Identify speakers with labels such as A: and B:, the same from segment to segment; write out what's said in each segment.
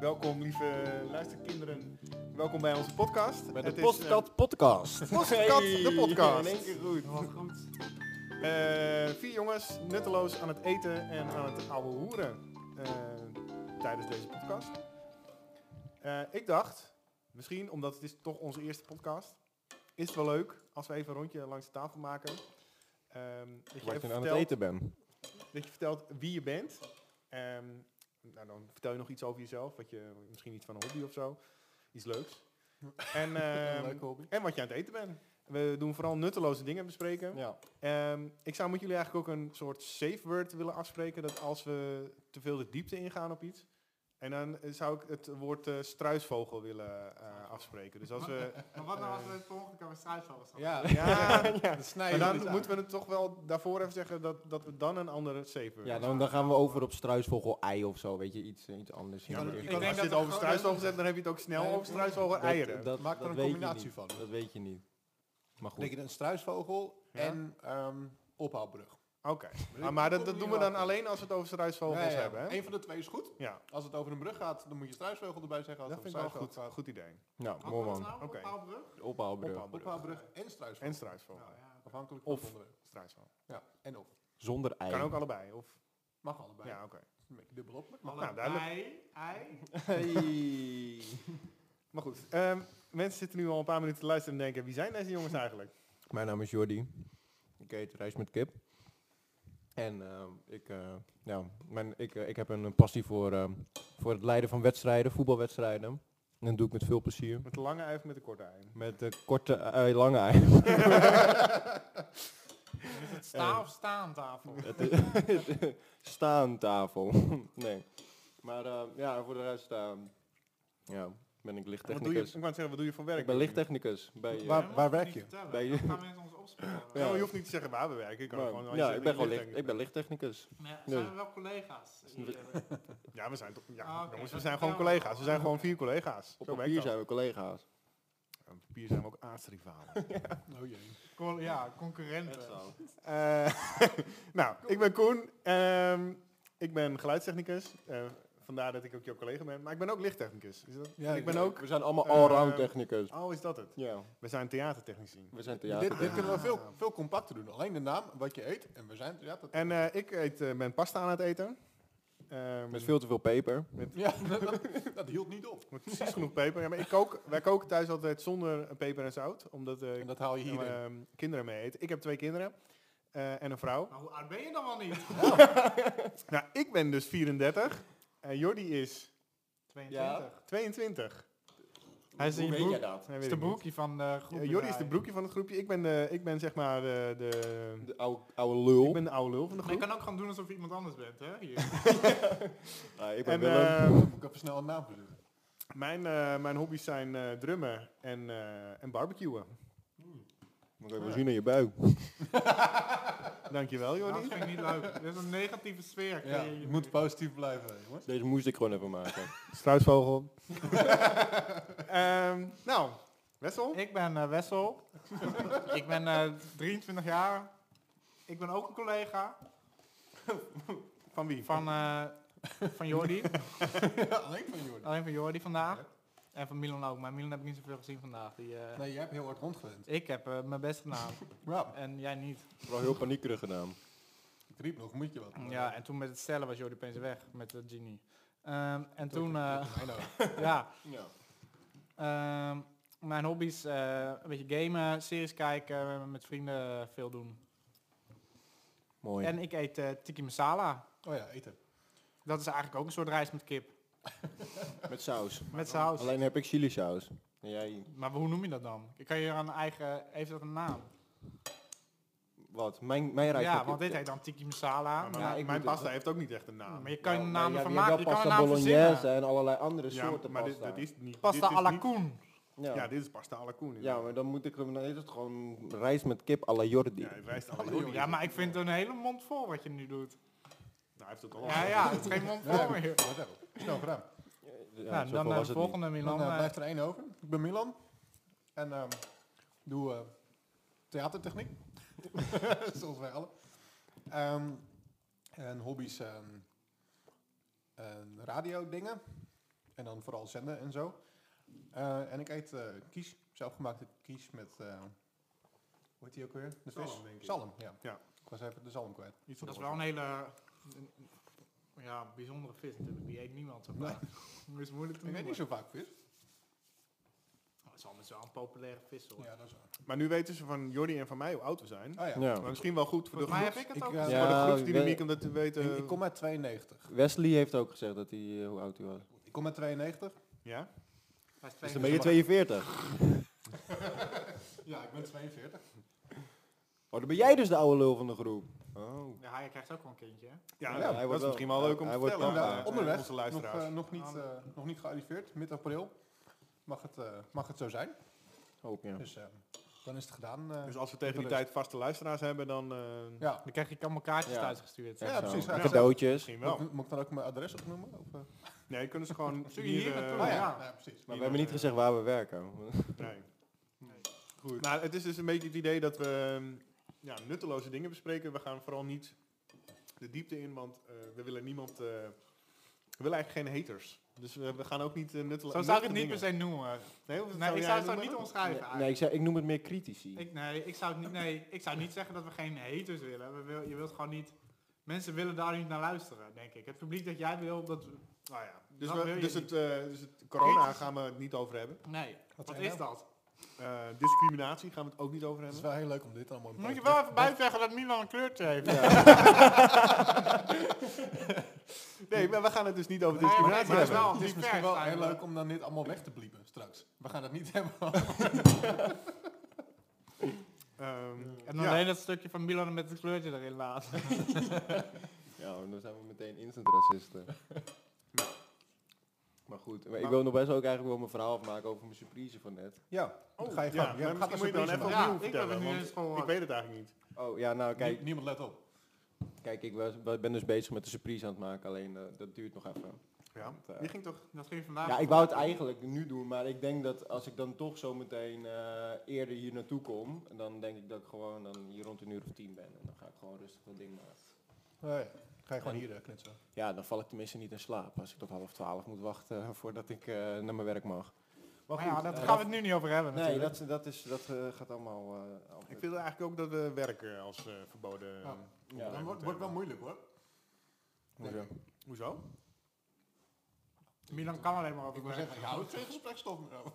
A: Welkom lieve luisterkinderen. Welkom bij onze podcast.
B: Bij de
A: Het is,
C: eh,
B: Postcat Podcast.
A: eh, Postcat, de podcast.
C: In één keer goed.
A: Eh, vier jongens nutteloos aan het eten en aan het ouwe hoeren eh, tijdens deze podcast. Eh, ik dacht, misschien omdat het is toch onze eerste podcast, is het wel leuk als we even een rondje langs de tafel maken. Ehm, dat, je even
B: Wat je nou aan
A: vertelt,
B: het eten bent.
A: dat je vertelt wie je bent. Ehm, nou, dan vertel je nog iets over jezelf, wat je, misschien iets van een hobby of zo. Iets leuks. En, ehm,
C: Leuke hobby.
A: en wat je aan het eten bent. We doen vooral nutteloze dingen bespreken.
B: Ja.
A: Ehm, ik zou met jullie eigenlijk ook een soort safe word willen afspreken. Dat als we te veel de diepte ingaan op iets. En dan eh, zou ik het woord eh, struisvogel willen eh, afspreken. Dus als we.
D: Maar wat nou als
A: Eh.
D: we het volgende keer met struisvogels gaan?
C: Ja,
A: Ja,
C: dan
A: maar
C: snijden we het
A: dan
C: uit.
A: moeten we het toch wel daarvoor even zeggen dat, dat we dan een andere safe word.
B: Ja, dan, dan gaan we over op struisvogel ei of zo, weet je, iets, eh, iets anders.
C: Ja, maar
B: Dat-
C: ik
A: Ik
C: denk
A: als je
C: dat
A: het
C: er
A: over
C: gewoon-
A: struisvogels hebt, dan heb je het ook snel
C: Nee,
A: over struisvogel eieren.
B: dat-
C: Maak er
B: dat
C: een
B: weet je
C: combinatie
B: niet.
C: van.
B: Dat weet je niet. Maar
C: Denk
B: goed.
C: je een struisvogel
A: Ja.
C: en ehm ophaalbrug.
A: Oké,
C: Maar
A: maar,
C: ik-
A: maar
C: ik
A: dat,
C: kom
A: dat
C: hier
A: doen we
C: wel
A: dan
C: op.
A: alleen als we het over struisvogels
C: Ja, ja,
A: hebben. Hè?
C: Eén van de twee is goed.
A: Ja,
C: Als het over een brug gaat, dan moet je struisvogel erbij zeggen. Als
A: dat
C: het
A: vind ik
C: over
A: wel een goed,
C: struisvogel
A: goed idee.
B: Nou,
D: Wat
B: mooi
D: was
B: man.
D: nou?
A: Oké.
D: Ophaalbrug?
B: Ophaalbrug.
A: Ophaalbrug.
C: gaat. Ophaalbrug en struisvogel.
A: En struisvogel.
D: Nou, ja.
C: Afhankelijk van
B: Of-
C: het onderwerp.
A: Struisvogel.
C: Ja, en of.
B: Zonder ei.
A: Kan ook allebei. Of,
C: Mag allebei.
A: ja, oké.
C: Een beetje dubbel op, maar het mag.
A: Nou, duidelijk.
D: Ei, ei.
B: Hey.
A: Maar goed, ehm, mensen zitten nu al een paar minuten te luisteren en denken, wie zijn deze jongens eigenlijk?
B: Mijn naam is Jordi. Ik eet rijst met kip. En ehm, ik, eh, ja, mijn, ik, eh, ik heb een passie voor, ehm, voor het leiden van wedstrijden, voetbalwedstrijden. En dat doe ik met veel plezier.
A: Met de lange ei of met de korte ei?
B: Met de korte, ei, lange ei.
D: Is
A: Eh,
D: het sta of staantafel?
B: Het is- Staantafel. nee. Maar eh, ja, voor de rest eh, ja, ben
A: Wat doe je,
B: ik
A: ik
B: lichttechnicus.
A: wou zeggen, wat doe je voor werk?
B: Ik ben lichttechnicus. Bij, eh,
C: Waar-
D: Nee, dat
C: waar werk
D: moet
C: je?
D: niet vertellen.
B: Bij-
D: Dan gaan mensen ons opsporen.
A: Ja.
B: Ja.
A: Nou, je hoeft niet te zeggen waar we werken. Je kan
B: maar-
A: gewoon alleen
B: ja,
A: zeggen
B: ik ben
A: dat
B: gewoon
A: je
B: licht, ik ben lichttechnicus.
D: Nee, zijn
B: Nee.
D: we wel collega's? hier?
A: Ja, we zijn toch... Ja,
D: Ah, oké,
A: jongens, we
D: dat
A: zijn
D: is
A: gewoon
D: wel-
A: collega's. We zijn gewoon vier collega's.
B: Op
A: Zo werkt
B: papier
A: dat.
B: zijn we collega's.
A: Op papier zijn we ook aardsrivalen.
C: Oh jee.
D: Col- ja, concurrenten.
A: Eh, nou, ik ben Koen. Ehm, ik ben geluidstechnicus. Eh, vandaar dat ik ook jouw collega ben. Maar ik ben ook lichttechnicus. Is dat,
C: Ja,
A: ik ben
C: ja.
A: ook...
B: We zijn allemaal
A: Eh,
B: allround technicus.
A: Oh, is dat het?
B: Ja,
A: We zijn theatertechnici.
B: we zijn
C: Dit, dit
B: theater.
C: kunnen we veel, veel compacter doen. Alleen de naam, wat je eet en we zijn... Ja, dat
A: En eh, ik eet, eh, ben pasta aan het eten. Ehm,
B: Met veel te veel peper.
C: ja, dat, dat hield niet op.
A: met precies genoeg peper. Ja, maar ik kook, wij koken thuis altijd zonder eh, peper en zout. Omdat eh,
C: En dat haal je
A: ik
C: hierin.
A: ehm, kinderen mee eten. Ik heb twee kinderen eh, en een vrouw.
D: Maar Nou, hoe oud ben je dan wel niet?
A: Nou, ik ben dus 34. En Jordi is
D: 22.
A: 22.
D: Hij is
B: Hoe
D: in je
B: weet jij
D: broek.
B: dat?
A: Nee, weet
D: Is
A: ik
D: de
A: niet.
D: broekie van de groep.
A: Ja, Jordi is de broekje van het groepje. Ik ben, de, ik ben zeg maar eh, de, de,
B: De oude, oude
A: ik
B: lul.
A: ben de oude lul van de
D: Maar je
A: groep.
D: kan ook gaan doen alsof je iemand anders bent, hè? Hier.
B: Ah, ik ben
A: En
B: Willem.
A: eh,
C: Moet ik even snel een naam verzinnen.
A: mijn, eh, mijn hobby's zijn eh, drummen en, eh, en barbecuen.
B: Moet ik even
A: ja.
B: zien in je buik.
A: Dankjewel
D: Dat
A: Jordi.
D: vind ik niet leuk. Dit is een negatieve sfeer.
C: Ja, je moet positief blijven, jongens.
B: Deze moest ik gewoon even maken.
A: Struisvogel. Ehm, nou, Wessel.
D: Ik ben eh, Wessel. ik ben eh, 23 jaar. Ik ben ook een collega
A: Van wie?
D: van, eh, van Jordi.
C: Ja, alleen van Jordi.
D: Alleen van Jordi vandaag. En van Milan ook. Maar Milan heb ik niet zoveel gezien vandaag. Die,
A: Ah.
D: eh,
C: Nee, jij hebt heel hard rondgewend.
D: Ik heb eh, mijn best gedaan.
C: Ja,
D: en jij niet.
B: Vooral heel paniekerig gedaan.
C: ik riep nog, moet je wat. eh,
D: Ja, en toen met het stellen was Jordi opeens weg met de genie. Ehm, en toen, eh,
C: I know.
D: ja,
B: Ja.
D: Ehm, mijn hobby's, eh, een beetje gamen, series kijken, met vrienden veel doen.
B: Mooi.
D: En ik eet eh, tiki masala.
C: Oh ja, eten.
D: Dat is eigenlijk ook een soort rijst met kip.
B: Met saus.
D: met saus.
B: Alleen heb ik chili saus. En jij,
D: Maar hoe noem je dat dan? Ik kan je een eigen... Heeft dat een naam?
B: wat? Mijn, mijn rijst
D: ja,
B: met
D: want
B: kip.
D: dit heet dan tiki masala.
A: Ja, maar
D: Ja,
B: Ja,
D: eh,
A: mijn- mijn
B: ik moet het-
A: pasta heeft ook niet echt een naam.
D: maar je kan je
B: Ja,
D: een
B: maar
D: naam
B: jij- jij
D: van maken. Je
B: hebt
D: kan
B: wel
D: een
B: pasta
D: naam
B: bolognese
D: verzinnen.
B: en allerlei andere
A: Ja,
B: soorten
A: maar dit,
B: pasta.
A: dat is niet...
D: Pasta
A: dit is
D: à la
A: niet-
D: Koen.
B: ja.
A: Ja, dit is pasta à la koen.
B: Ja, maar dan moet ik hem, dan is het gewoon rijst met kip à la Jordi.
A: Ja, hij wijst à la Jordi.
D: Ja, maar ik vind het een hele mond vol wat je nu doet.
A: Nou, hij heeft het al
D: Ja, ja, het is geen mond vol meer.
C: Wat hebben we? Snel gedaan.
B: Ja,
D: nou,
B: zoveel
D: dan naar
B: was
D: de
B: het
D: volgende,
C: Dan
D: Milan.
C: eh,
D: eh,
C: blijft er één over. Ik ben Milan. En ehm, doe eh, theatertechniek. Zoals wij allen. Ehm, en hobby's. ehm, eh, radio dingen. En dan vooral zenden en zo. Eh, en ik eet eh, kies, zelfgemaakte kies met, eh, hoe heet die ook weer? De vis?
A: Zalm, denk ik.
C: Zalm, ja.
A: Ja.
C: Ik was even de zalm kwijt.
A: Iets op
D: Dat is
A: de
D: wel een hele een- een- ja, bijzondere vis natuurlijk. Die eet niemand zo vaak. Dat is moeilijk te
C: Ik eet niet
D: noemen.
C: zo vaak vis.
D: Oh, Het is allemaal zo'n populaire vis hoor.
C: Ja, dat is waar.
A: wortel. Maar nu weten ze van Jordi en van mij hoe oud we zijn.
C: Oh ja.
B: Ja.
A: Maar misschien wel goed voor de,
D: Volgens mij
A: groep,
D: heb ik het ook.
C: Ik, eh,
A: voor
B: Ja,
A: de
B: ik
A: groepsdynamiek,
B: ben-
A: om dat te weten.
C: Ik, eh, ik kom uit 92.
B: Wesley heeft ook gezegd dat hij, eh, hoe oud hij was.
C: Ik kom uit 92.
A: Ja?
D: Hij is
B: Dus
D: twee
B: dan
D: keer
B: ben je
D: zo
B: 42.
C: Ja, ik ben 42.
B: Oh, dan ben jij dus de oude lul van de groep. Oh.
D: lang. Ja, hij krijgt ook wel een kindje. hè?
A: Ja, nou,
B: Ja, hij
A: dat
B: wordt
A: is
B: wel-
A: misschien wel
B: hij-
A: leuk om
B: hij
A: te
B: wordt
A: vertellen
B: wel,
A: aan,
B: eh,
A: eh,
C: onderweg.
A: onze
C: Nog,
A: luisteraars.
C: eh, nog, niet, eh, nog niet gearriveerd. Mid-april mag, het, eh, mag het zo zijn.
B: Hoop, ja.
C: Dus eh, dan is het gedaan. eh.
A: dus als we tegen die
C: Voor de
A: tijd vaste luisteraars hebben, dan... eh,
C: ja.
D: Dan krijg ik allemaal kaartjes
B: Ja.
D: thuisgestuurd.
C: Ja,
B: Echt zo.
C: precies,
B: En
C: ja.
B: Cadeautjes.
A: Misschien
C: Moet,
A: wel.
C: ik- moet ik dan ook mijn adres opnoemen? Of, eh?
A: Nee, kunnen ze gewoon
D: Stuur je hier
A: eh,
D: naartoe?
C: Ah, ja.
D: ja.
C: Ja, precies.
B: Maar we hebben niet gezegd waar we werken.
A: Nee.
D: Nee.
A: Goed. Nou, het is dus een beetje het idee dat we ehm, ja, nutteloze dingen bespreken. We gaan vooral niet de diepte in, want eh, we willen niemand... eh, we willen eigenlijk geen haters. Dus eh, we gaan ook niet eh, nuttelo-
D: Zo
A: nutteloze
D: zou ik het niet per
A: dingen-
D: se noemen.
A: Nee, of
D: Nee, ik
A: jij
D: zou het zo
A: noemen?
D: niet omschrijven
B: Nee,
D: eigenlijk.
B: ik, zei, ik noem het meer critici.
D: Ik, nee, ik zou het niet, nee, ik zou niet zeggen dat we geen haters willen. We wil, je wilt gewoon niet... Mensen willen daar niet naar luisteren, denk ik. Het publiek dat jij wil, dat... Nou ja,
A: Dus,
D: dat wil
A: we,
D: je
A: dus,
D: niet.
A: het, eh, dus het corona gaan we het niet over hebben.
D: Nee, wat,
C: zijn
D: is
C: nou?
D: dat?
A: Eh, discriminatie gaan we het ook niet over
C: Het is
A: hebben.
C: wel heel leuk om dit allemaal in
D: Moet je
C: podcast-
D: wel even bij zeggen dat Milan een kleurtje heeft.
A: Nee, maar we gaan het dus niet over
D: Nee, maar
A: discriminatie
D: het is
A: hebben.
D: wel
C: Het is misschien
D: divers
C: wel heel
D: eigenlijk.
C: leuk om dan dit allemaal weg te bliepen straks. We gaan het niet hebben.
A: Ehm,
D: En dan
A: ja.
D: alleen dat stukje van Milan met het kleurtje erin laten.
B: Ja, want dan zijn we meteen instant racisten. maar goed, maar ik wil nog best ook eigenlijk wel mijn verhaal afmaken over mijn surprise van net.
C: ja,
A: Oh,
C: dan ga je
A: ja,
C: gang. Ja,
A: maar
C: gaat
A: misschien moet je
C: een
A: dan even
C: surprise
D: maken.
A: opnieuw
D: Ja, ik wil het
A: vertellen,
D: nu
A: want
D: eens gewoon-
A: ik weet het eigenlijk niet.
B: Oh ja, nou
C: Kijk,
B: kijk,
C: niemand let op.
B: kijk ik was, wa- ben dus bezig met de surprise aan het maken, alleen eh, dat duurt nog even.
A: Ja.
B: Want, eh,
A: Die ging toch...
D: Dat ging vandaag.
B: ja, ik wou het eigenlijk nu doen, maar ik denk dat als ik dan toch zo meteen eh, eerder hier naartoe kom, dan denk ik dat ik gewoon dan hier rond een uur of tien ben. En dan ga ik gewoon rustig dat ding maken.
C: Nee, Oh Ga je gewoon hier eh, knitsen.
B: Ja, dan val ik tenminste niet in slaap als ik tot half twaalf moet wachten voordat ik eh, naar mijn werk mag. Maar
D: Maar ja,
B: goed,
D: daar
B: eh,
D: gaan we het nu niet over hebben
B: Nee,
D: natuurlijk.
B: dat, dat, is, dat eh, gaat allemaal... eh,
A: Ik
B: altijd-
A: vind eigenlijk ook dat we werken als eh, verboden...
C: Ja.
A: eh,
B: Ja, dus
C: Dan
A: onderwerp
C: wordt
A: moeten
C: wordt wel
A: hebben.
C: moeilijk hoor.
B: Hoezo?
A: Hoezo?
D: Milan kan alleen maar over
C: Ik wil
D: werk.
C: zeggen, je houdt geen gesprekstof meer over.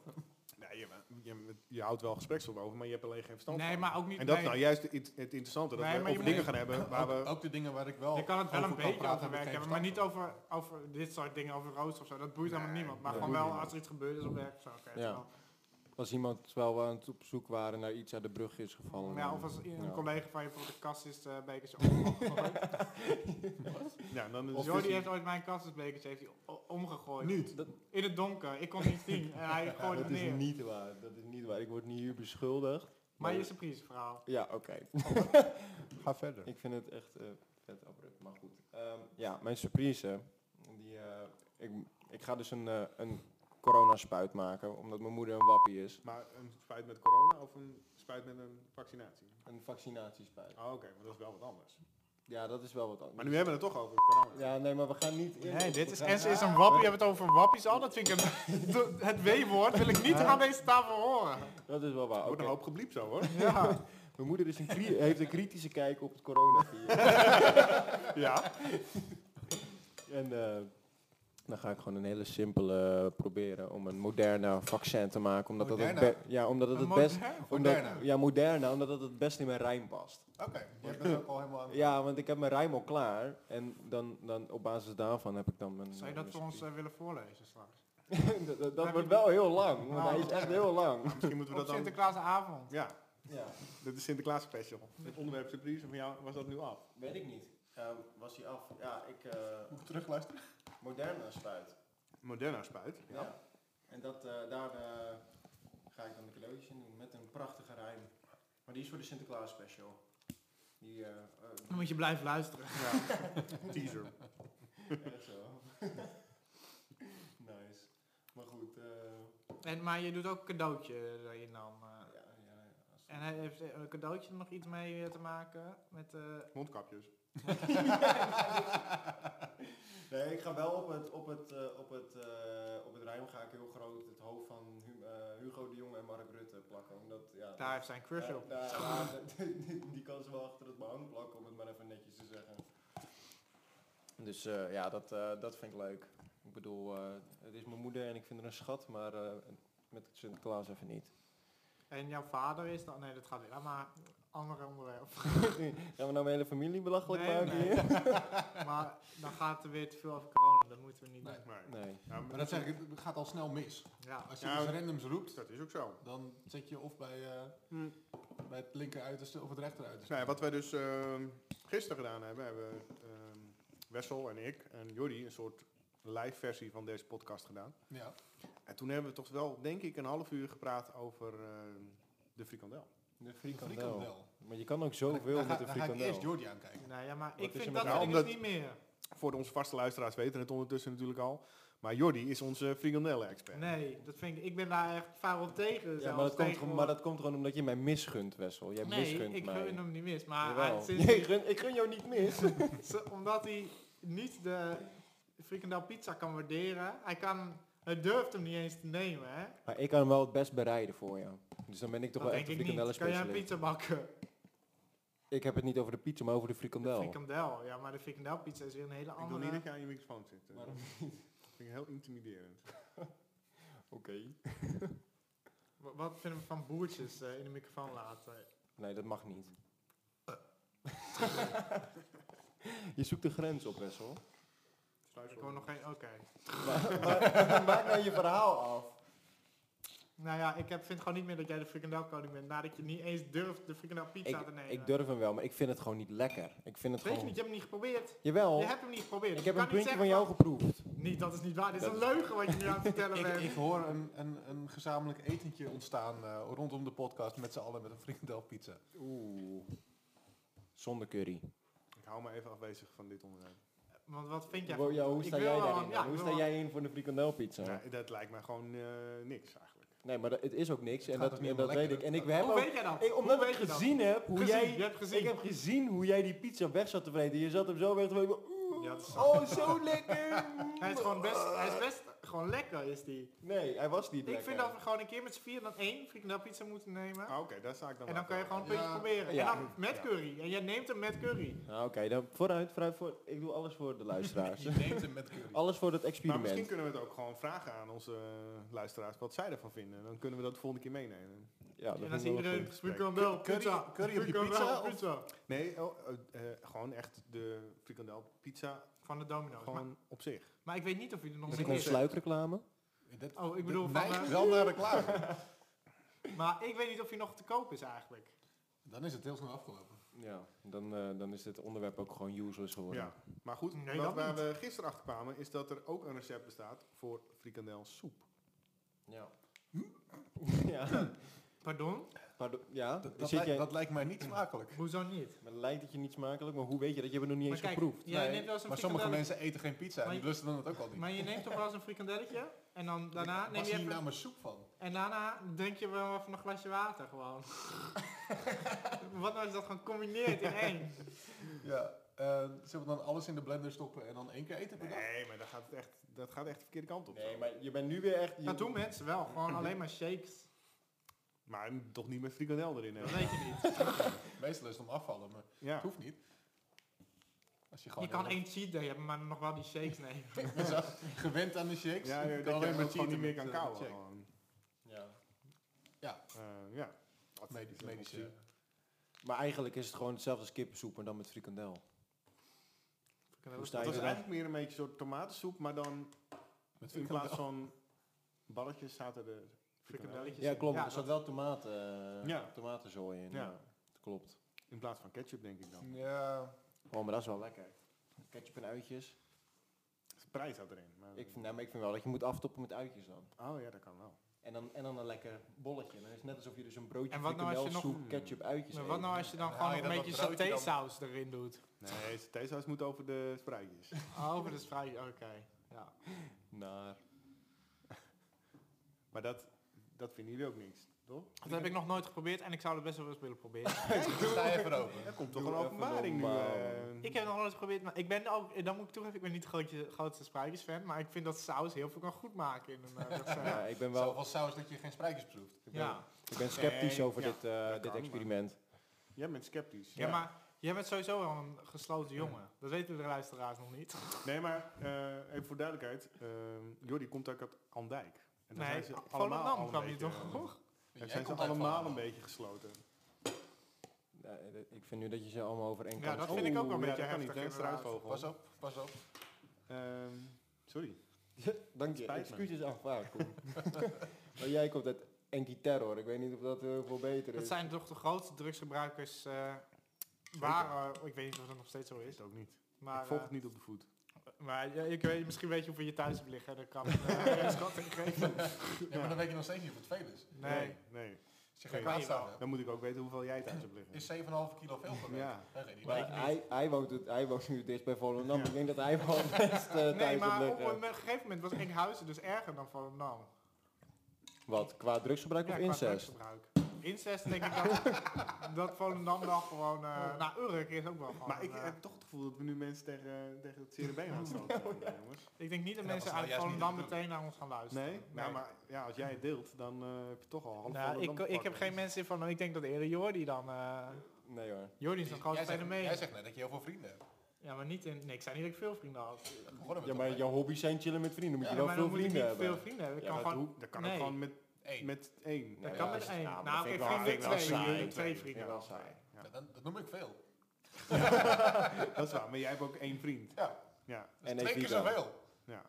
A: Nee, je, je, je houdt wel gespreksop over, maar je hebt er alleen geen verstand
D: Nee,
A: van.
D: maar ook niet.
A: En dat is
D: nee.
A: nou juist het, het interessante, dat
D: Nee,
A: we
D: maar je
A: over
D: moet-
A: dingen gaan hebben waar
C: Ook-
A: we...
C: Ook de dingen waar ik
B: Oh,
C: wel
D: je kan het wel
C: over
D: een beetje
C: praten,
D: over
C: heb ik
D: werk
C: geen
D: hebben, maar niet
C: verstand
D: over, over dit soort dingen, over roosters of zo. Dat boeit helemaal
A: Nee,
D: niemand. Maar
B: nee,
D: gewoon
B: boeit
D: wel
B: niemand.
D: als er iets gebeurd is op werk of zo. oké,
B: Ja.
D: zo.
B: Als iemand terwijl we aan het op zoek waren naar iets uit de brug is gevallen.
D: Maar ja, of als
B: dan-
D: een
B: ja.
D: collega van je voor de kast is, eh bekertje omgegooid.
A: Ja, dan is
D: Dus
A: het
D: Jordi heeft ooit mijn kastensbekertje heeft hij o- omgegooid.
B: Niet. Dat,
D: In het donker. Ik kon het niet zien. En hij
B: ja,
D: gooide
B: dat
D: het
B: is
D: neer.
B: niet waar. Dat is niet waar. Ik word niet hier beschuldigd.
D: Maar je surprise verhaal.
B: Ja, oké.
C: over. Ga verder.
B: Ik vind het echt eh, vet abrupt, maar goed. Ehm, ja, mijn surprise. Die, eh, ik, ik ga dus een, eh een coronaspuit maken, omdat mijn moeder een wappie is.
A: Maar een spuit met corona of een spuit met een vaccinatie?
B: Een vaccinatiespuit.
A: Oh, oké, maar dat is wel wat anders.
B: Ja, dat is wel wat anders.
A: Maar nu hebben we het toch over corona.
B: Ja, nee, maar we gaan niet... in-
D: Nee, dit
B: we
D: is,
B: gaan-
D: en ze is een wappie. Je hebt het over wappies al. Dat vind ik een, het W-woord wil ik niet aan deze tafel horen.
B: Dat is wel waar.
A: Er wordt
B: oké.
A: een hoop gebliept zo hoor.
D: Ja.
B: Mijn moeder is een cri- heeft een kritische kijk op het coronavirus.
A: ja.
B: en eh, dan ga ik gewoon een hele simpele eh, proberen om een moderne vaccin te maken. Omdat dat
C: Moderna?
B: het be- ja, omdat het,
D: Een
B: het best...
D: modern-
B: Omdat,
C: Moderna?
B: Ja, moderna, omdat het het best in mijn rijm past.
C: Oké, jij bent ook al helemaal aan.
B: Ja, want ik heb mijn rijm al klaar. En dan, dan op basis daarvan heb ik dan mijn...
D: Zou je dat voor ons eh, willen voorlezen straks?
B: dat dat- dat wordt wel heel lang, want
D: Nou,
B: hij is echt heel lang.
A: Misschien moeten we dat
D: Op
A: dan...
D: Sinterklaasavond.
A: Ja,
B: Ja,
A: dit is Sinterklaas special. Het onderwerp surprise van jou was dat nu af.
B: weet ik niet. Ehm, was hij af? Ja, ik... eh,
C: Moet ik terugluisteren?
B: moderna spuit.
A: Moderna spuit.
B: Ja. En dat, eh, daar eh, ga ik dan de cadeautjes in doen met een prachtige rijm. Maar die is voor de Sinterklaas special. Die, eh, eh,
D: Dan moet je blijven luisteren.
A: Teaser.
B: echt zo. nice. Maar goed, eh,
D: En, maar je doet ook een cadeautje erin dan. eh.
B: ja, ja, ja, als-
D: En hij heeft eh, een cadeautje nog iets mee eh, te maken met... eh,
A: Mondkapjes.
B: Nee, ik ga wel op het, op het, eh, op het, eh, op het geheim ga ik heel groot het hoofd van Hu- eh, Hugo de Jong en Mark Rutte plakken. Omdat, ja,
D: Daar heeft zijn crush
B: daar-
D: op.
B: daar- daar- Eh, nou, die, die kan ze wel achter het behang plakken, om het maar even netjes te zeggen. Dus eh, ja, dat, eh, dat vind ik leuk. Ik bedoel, eh, het is mijn moeder en ik vind haar een schat, maar eh, met Sinterklaas even niet.
D: En jouw vader is dan... Nee, dat gaat weer. Laat maar andere onderwerp.
B: Gaan we nou mijn hele familie belachelijk
D: Nee,
B: maken
D: nee.
B: hier?
D: maar dan gaat er weer te veel over corona. Dat moeten we niet
C: Nee.
D: doen.
A: Nee.
B: Nee.
A: Ja,
C: Maar dat zeg ik, het gaat al snel mis.
D: Ja.
C: Als je
A: Ja,
C: iets randoms roept,
A: dat is ook zo.
C: dan zit je of bij, eh,
A: Hm.
C: bij het linker uiterste of het rechter uiterste.
A: Nou ja, wat wij dus ehm, gisteren gedaan hebben, hebben ehm, Wessel en ik en Jordi een soort live versie van deze podcast gedaan.
C: Ja.
A: En toen hebben we toch wel, denk ik, een half uur gepraat over ehm, de frikandel.
B: De frikandel.
C: Frikandel.
B: Maar je kan ook
C: Daar
B: zoveel
C: ga-
B: met een
C: Daar ga ik eerst
B: frikandel.
C: Jordi aankijken.
D: Nee, ja, maar
B: Wat
D: ik
B: is er
D: vind
B: met
D: dat
A: jou?
D: nou,
A: Omdat-
D: niet meer.
A: Voor onze vaste luisteraars weten het ondertussen natuurlijk al. Maar Jordi is onze frikandellen-expert.
D: Nee, dat vind ik... Ik ben daar echt vaar op tegen.
B: Ja, maar dat,
D: zelfs
B: komt,
D: tegenwoordig.
B: gewoon- maar dat komt gewoon omdat je mij misgunt, Wessel. Jij
D: Nee,
B: misgunt
D: ik
B: mij.
D: gun hem niet mis. Maar
B: Jawel.
D: hij- sinds
B: Jij
D: die-
B: gun- ik gun jou niet mis.
D: Ze- omdat hij niet de frikandel pizza kan waarderen. Hij kan, hij durft hem niet eens te nemen, hè?
B: maar ik kan hem wel het best bereiden voor jou. Dus dan ben ik toch
D: dat
B: wel echt
D: denk
B: een
D: ik niet. Kan jij een
B: frikandellenspecialist.
D: pizza bakken?
B: Ik heb het niet over de pizza, maar over de
D: De
B: frikandel.
D: frikandel, ja, maar de frikandel pizza is weer een hele
A: Ik wil niet
D: andere.
A: dat jij aan je microfoon zit. eh.
B: Waarom
A: Dat vind ik heel intimiderend.
B: Oké.
D: Wa- Wat vinden we van boertjes eh, in de microfoon laten?
B: Nee, dat mag niet. je zoekt de grens op, Wessel.
D: Ik hoor nog geen. Oké.
B: Maak nou je verhaal af.
D: Nou ja, ik heb, vind gewoon niet meer dat jij de frikandelkoning bent, nadat je niet eens durft de frikandel pizza
B: Ik,
D: te nemen.
B: ik durf hem wel, maar ik vind het gewoon niet lekker. Ik vind het
D: Weet je
B: gewoon...
D: niet, je hebt hem niet geprobeerd.
B: Jawel,
D: Je hebt hem niet
B: ik
D: geprobeerd. dus
B: heb
D: je
B: een
D: kan niet
B: puntje van
D: zeggen
B: jou geproefd.
D: Niet, dat is niet waar. Dit is
B: Dat
D: een
B: is-
D: leugen wat je nu aan het vertellen
C: Ik,
D: bent.
C: ik hoor een, een, een gezamenlijk etentje ontstaan eh, rondom de podcast met z'n allen met een frikandelpizza.
B: Oeh. Zonder curry.
A: Ik hou me even afwezig van dit onderwerp.
D: Want wat vind jij?
B: Wow,
D: van-
B: ja, hoe
D: ik
B: sta
D: wil
B: jij
D: wel-
B: daarin?
D: ja,
B: dan?
D: ik
B: hoe
D: wil
B: sta
D: wel-
B: jij in voor de frikandelpizza?
A: Nou, dat lijkt mij gewoon eh, niks eigenlijk.
B: Nee, maar dat- het is ook niks
C: Het
B: en
C: gaat
B: dat,
C: dus
B: en dat
C: helemaal
B: weet ik.
C: lekker.
B: En ik we
D: Hoe
B: hebben ook,
D: weet jij dat?
B: ik,
D: Hoe
B: omdat ik
D: weet je dat?
B: gezien heb hoe
D: Gezien,
B: jij...
D: je hebt gezien.
B: Ik heb gezien hoe jij die pizza weg zat te vreten. Je zat hem zo weg te vreten. Oeh,
D: Ja, dat is-
B: oh, zo lekker.
D: Hij is gewoon best, hij is best gewoon lekker is die.
B: Nee, hij was Eh. niet
D: Ik
B: lekker. Oh,
D: vind dat we gewoon een keer met z'n vier dan één frikandel pizza moeten nemen.
A: Ah, Oké, daar sta ik dan
D: En
A: wel
D: dan kan je
A: voor.
D: gewoon een puntje
C: Ja.
D: proberen.
B: Ja.
D: En dan met curry. En jij neemt hem met curry.
B: Nou, Oké, dan vooruit, vooruit, voor. Ik doe alles voor de luisteraars.
C: Je neemt hem met curry.
B: alles voor dat
A: Maar misschien
B: experiment.
A: kunnen we het ook gewoon vragen aan onze eh, luisteraars wat zij ervan vinden. Dan kunnen we dat de volgende keer meenemen.
B: Ja, dat
D: en dan
B: vind
D: zie
B: ik wel
D: iedereen
B: goed.
D: frikandel,
C: Curry-
D: pizza.
C: curry op je
D: frikandel,
C: pizza of-
D: pizza.
A: Nee, oh, eh, eh, gewoon echt de frikandel pizza
D: Van de domino's. Maar,
A: gewoon op zich.
D: maar ik weet niet of jullie er nog
B: Is
D: meer
B: het een
D: is.
B: sluikreclame?
C: Dit-
D: Oh, ik
C: dit
D: bedoel, van,
C: neigt
D: eh,
C: wel naar reclame.
D: Maar ik weet niet of hij nog te koop is eigenlijk.
C: Dan is het heel snel afgelopen.
B: Ja, dan, eh, dan is dit onderwerp ook gewoon useless geworden.
A: Ja. Maar goed,
D: Nee,
A: wat
D: dat
A: waar
D: niet.
A: we gisteren achter kwamen is dat er ook een recept bestaat voor frikandel soep.
B: Ja. ja.
D: Pardon?
B: Pardon, ja?
C: Dat,
B: Zit
C: dat lijkt,
B: jij-
C: dat lijkt mij niet smakelijk.
D: Hoezo niet?
B: Maar lijkt het je niet smakelijk, maar hoe weet je dat? Je hebt het nog niet
D: Maar
B: eens
D: kijk,
B: geproefd.
D: jij
C: Nee,
D: neemt wel eens een
C: maar sommige
D: frikandelletje-
C: mensen eten geen pizza en
D: Maar
C: die
D: je-
C: lusten dan het ook al niet.
D: Maar je neemt toch wel eens een frikandelletje? En dan daarna neem
C: Was
D: je
C: hier
D: even...
C: nou maar soep van?
D: En daarna drink je wel even een glasje water gewoon. Wat nou is dat gewoon combineerd in één?
C: Ja. eh, zullen we dan alles in de blender stoppen en dan één keer eten per dag?
A: Nee, maar dat gaat, het echt, dat gaat echt de verkeerde kant op.
B: Nee,
A: zo.
B: maar je bent nu weer echt... Je,
D: Dat doen mensen wel, gewoon alleen maar shakes.
A: Maar toch niet met frikandel erin. hè?
D: Dat weet je niet.
C: Meestal is het om afvallen, maar
A: Ja.
C: het hoeft niet. Als je gewoon
D: Je kan één cheat day hebben, maar nog wel die shakes nemen.
C: Je bent zo gewend aan de shakes.
A: Ja,
C: Je
A: ja,
C: kan
A: dat je
C: alleen maar
A: het gewoon niet
C: cheaten
A: meer
C: met,
A: kan
C: eh,
A: kauwen.
C: shake.
A: gewoon.
B: Ja.
A: Eh, ja. Dat
C: Medisch,
A: is een
C: medisch,
A: optie.
C: eh,
B: Maar eigenlijk is het gewoon hetzelfde als kippensoep, maar dan met frikandel. Hoe sta
A: Het
B: je
A: was
B: erbij?
A: eigenlijk meer een beetje een soort tomatensoep, maar dan
C: met
A: in
C: frikandel.
A: plaats van balletjes zaten er frikandelletjes.
D: Frikandelletjes.
B: Ja,
D: in.
B: klopt.
D: Ja,
B: er zat wel tomaten, eh,
A: Ja.
B: tomatenzooi in.
A: Ja.
B: Ja. dat klopt.
A: In plaats van ketchup denk ik
C: Hm.
A: dan.
C: Ja,
B: Oh, maar dat is wel lekker. Ketchup en uitjes.
A: De prijs zat erin. Maar
B: Ik vind, nou, maar ik vind wel dat je moet aftoppen met uitjes dan.
A: Oh ja, dat kan wel.
B: En dan, en dan een lekker bolletje. Dan is het net alsof je dus een broodje
D: En wat nou als je
B: frikandelsoep,
A: nog-
B: ketchup, uitjes
D: Maar wat nou als je dan
C: Ja,
D: gewoon
C: ja,
D: een
C: dat
D: beetje
C: broodje dan.
D: satésaus erin doet?
A: Nee, theesaus moet over de spruitjes.
D: Oh, dat is vrij, oké. Ja.
B: eet. Naar.
A: Maar dat, dat vinden jullie ook niks, toch?
D: Dat heb ik nog nooit geprobeerd en ik zou het best wel eens willen proberen.
B: Sta je voorover.
A: Er komt toch
B: Doe
A: een
B: even
A: openbaring nu.
B: normaal.
A: eh.
D: Ik heb het nog nooit geprobeerd, maar ik ben ook, dan moet ik toegeven, ik ben niet de grootje, grootste spruitjesfan, maar ik vind dat saus heel veel kan goed maken in een eh, wedstrijd.
B: Ja, ik ben wel
C: Zoveel saus dat je geen spruitjes proeft. Ik ben-
D: ja.
B: ik ben sceptisch
A: Nee,
B: over
A: ja,
B: dit, eh,
A: dat
B: dit
A: kan,
B: experiment.
A: Jij bent sceptisch.
D: Ja, maar jij bent sowieso wel een gesloten jongen. Dat weten de luisteraars nog niet.
A: Nee, maar eh, even voor duidelijkheid. eh Jordi komt ook uit Andijk. En daar zijn
D: Nee,
A: ze allemaal
D: Volendam
A: al
D: kwam
A: een
D: je
A: beetje,
D: toch? hoor?
A: Daar
C: Jij
A: zijn ze
C: komt uit
A: allemaal
C: Volendam.
A: een beetje gesloten.
B: Ja, eh, ik vind nu dat je ze allemaal over één
D: Ja,
B: kant Oh.
D: dat
B: gooit.
D: vind ik ook wel
A: Oeh,
D: een
A: ja,
D: beetje
A: dat kan niet,
D: heftig
A: hè,
D: inderdaad.
A: struisvogel.
C: Pas op, pas op.
A: Ehm, sorry.
B: Dank je.
A: Spijt me.
B: Excuses aanvaard, Koen. maar jij komt uit Enki Terror. Ik weet niet of dat heel veel
A: eh,
B: beter
D: Dat
B: is.
D: zijn toch de grootste drugsgebruikers eh, waren, ik weet niet of dat nog steeds zo is.
A: Is ook niet.
D: Maar,
A: ik volg
D: eh,
A: het niet op de voet.
D: maar ja, ik weet, misschien weet je hoeveel je thuis hebt liggen, dat kan ik eh, een schatting geven.
C: Ja, maar dan weet je nog steeds niet wat veel is.
D: Nee,
A: Nee.
C: Als je
A: Oké.
C: geen kwaad staat hebt,
A: Dan moet ik ook weten hoeveel jij thuis hebt liggen.
C: is 7,5 kilo veel per week.
A: Ja.
C: Dat weet ik niet.
B: Maar hij, hij, woont het, hij woont nu dicht bij Volendam.
A: Ja.
B: Ik denk dat hij wel het best eh,
D: nee
B: thuis op
D: maar op
B: liggen.
D: een gegeven moment was Enkhuizen dus erger dan Volendam.
B: Wat, qua drugsgebruik
D: Ja,
B: of
D: qua
B: incest?
D: drugsgebruik. Incest denk ik dat, dat Volendam dan gewoon... eh nou, Urk is ook wel gewoon...
A: Maar ik
D: eh,
A: heb toch het gevoel dat we nu mensen tegen, tegen het cerebeen aan het stoten zijn, eh, jongens.
D: ik denk niet dat
C: En dat
D: mensen
C: was nou
D: uit
C: juist niet
D: Volendam
C: de bedoeling.
D: meteen naar ons gaan
C: Dus
D: luisteren.
A: Nee? Nou, maar ja, als jij het deelt, dan eh, heb je toch al half
D: Nou,
A: Volendam
D: ik, ik heb
A: pakken.
D: geen mensen van... Ik denk dat eerder Jordi dan... eh
B: Nee hoor.
D: Jordi is
C: Jij
D: een groot
C: zegt- Jij
D: fenomeen.
C: zegt net dat je heel veel vrienden hebt.
D: Ja, maar niet in... Nee, ik zei niet dat ik veel vrienden had.
C: Daar begonnen we
B: Ja,
C: toch
B: maar
C: mee.
B: jouw hobby's zijn chillen met vrienden. Moet
C: Ja,
B: je wel
D: Ja, maar
B: veel
D: dan moet ik niet
B: vrienden hebben.
D: veel vrienden hebben. Ik
B: Ja,
D: kan
A: Dat,
D: gewoon...
A: hoe- dat kan ook
D: Nee.
A: gewoon met,
C: Eén.
A: met één.
D: Dat
B: Ja,
D: kan
B: ja,
D: met
B: is-
D: één.
B: ja, maar dat
D: nou,
B: vind
D: oké,
B: ik wel-
D: vrienden
B: vind ik wel
D: twee.
B: saai.
D: Twee
B: Vind
D: vrienden
B: ik wel
D: wel.
B: saai.
A: Ja.
C: Ja, dat, dat noem ik veel.
A: Dat is waar, maar jij hebt ook één vriend.
C: Ja,
A: Ja,
C: dat is
B: En
C: twee
B: ik
C: keer
B: wel.
C: zoveel.
A: ja.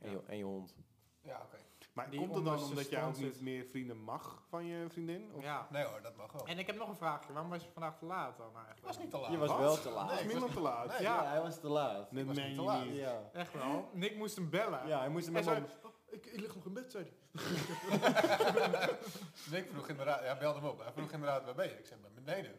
B: En je, en je hond.
C: Ja, oké.
A: Maar
D: Die
A: komt het dan
D: onder
A: omdat jij ook
D: suspense
A: niet
D: zit.
A: meer vrienden mag van je vriendin? Of
D: Ja.
C: Nee hoor, dat mag wel.
D: En ik heb nog een vraagje. Waarom was je vandaag te laat dan
C: Ik
D: eigenlijk?
C: was niet te laat.
B: Je was
A: Wat?
B: wel te laat.
C: Nee,
A: is
C: ik
A: minder
C: was-
A: te laat?
C: nee.
B: Ja, hij was te laat.
A: Nee,
C: was
A: meen
C: niet
A: je
C: te laat.
A: niet.
B: Ja.
D: Echt wel. Nick moest hem bellen.
B: Ja, hij moest hem
D: Hij
B: helemaal...
D: zei, Oh, ik, ik lig nog in bed, zei hij.
C: Nick Dus vroeg inderdaad, hij belde hem op. Hij vroeg inderdaad, waar ben je? Ik zei, ben beneden.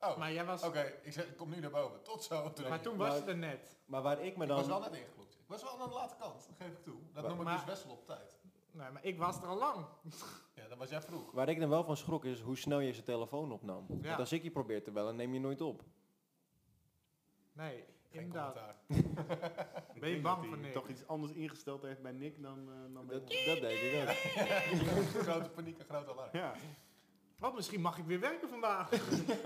C: Oh,
D: Maar jij was...
C: oké. Ik zei, ik kom nu naar boven. Tot zo. Toen
D: Maar toen
B: Maar-
D: was je er net.
B: Maar waar ik me
C: Ik was
B: dan...
C: wel net ingeklopt. Ik was wel aan de late kant, dat geef ik toe.
B: Maar-
C: Dat noem ik
D: maar-
C: dus best wel op tijd.
D: Nee, maar ik was er al lang.
C: Ja, dan was jij vroeg.
B: Waar ik dan wel van schrok is hoe snel je zijn telefoon opnam.
D: Ja.
B: Want als ik je probeer te bellen, neem je nooit op.
D: Nee,
C: Geen
D: inderdaad.
C: commentaar.
A: Ik
D: Ben je
A: denk
D: bang
A: dat hij
D: voor Nick?
A: toch iets anders ingesteld heeft bij Nick dan, eh, dan bij
B: Dat,
A: ons.
B: dat denk ik ook.
C: grote paniek en grote alarm.
A: Ja,
D: Wat, Oh, misschien mag ik weer werken vandaag.
B: Nou,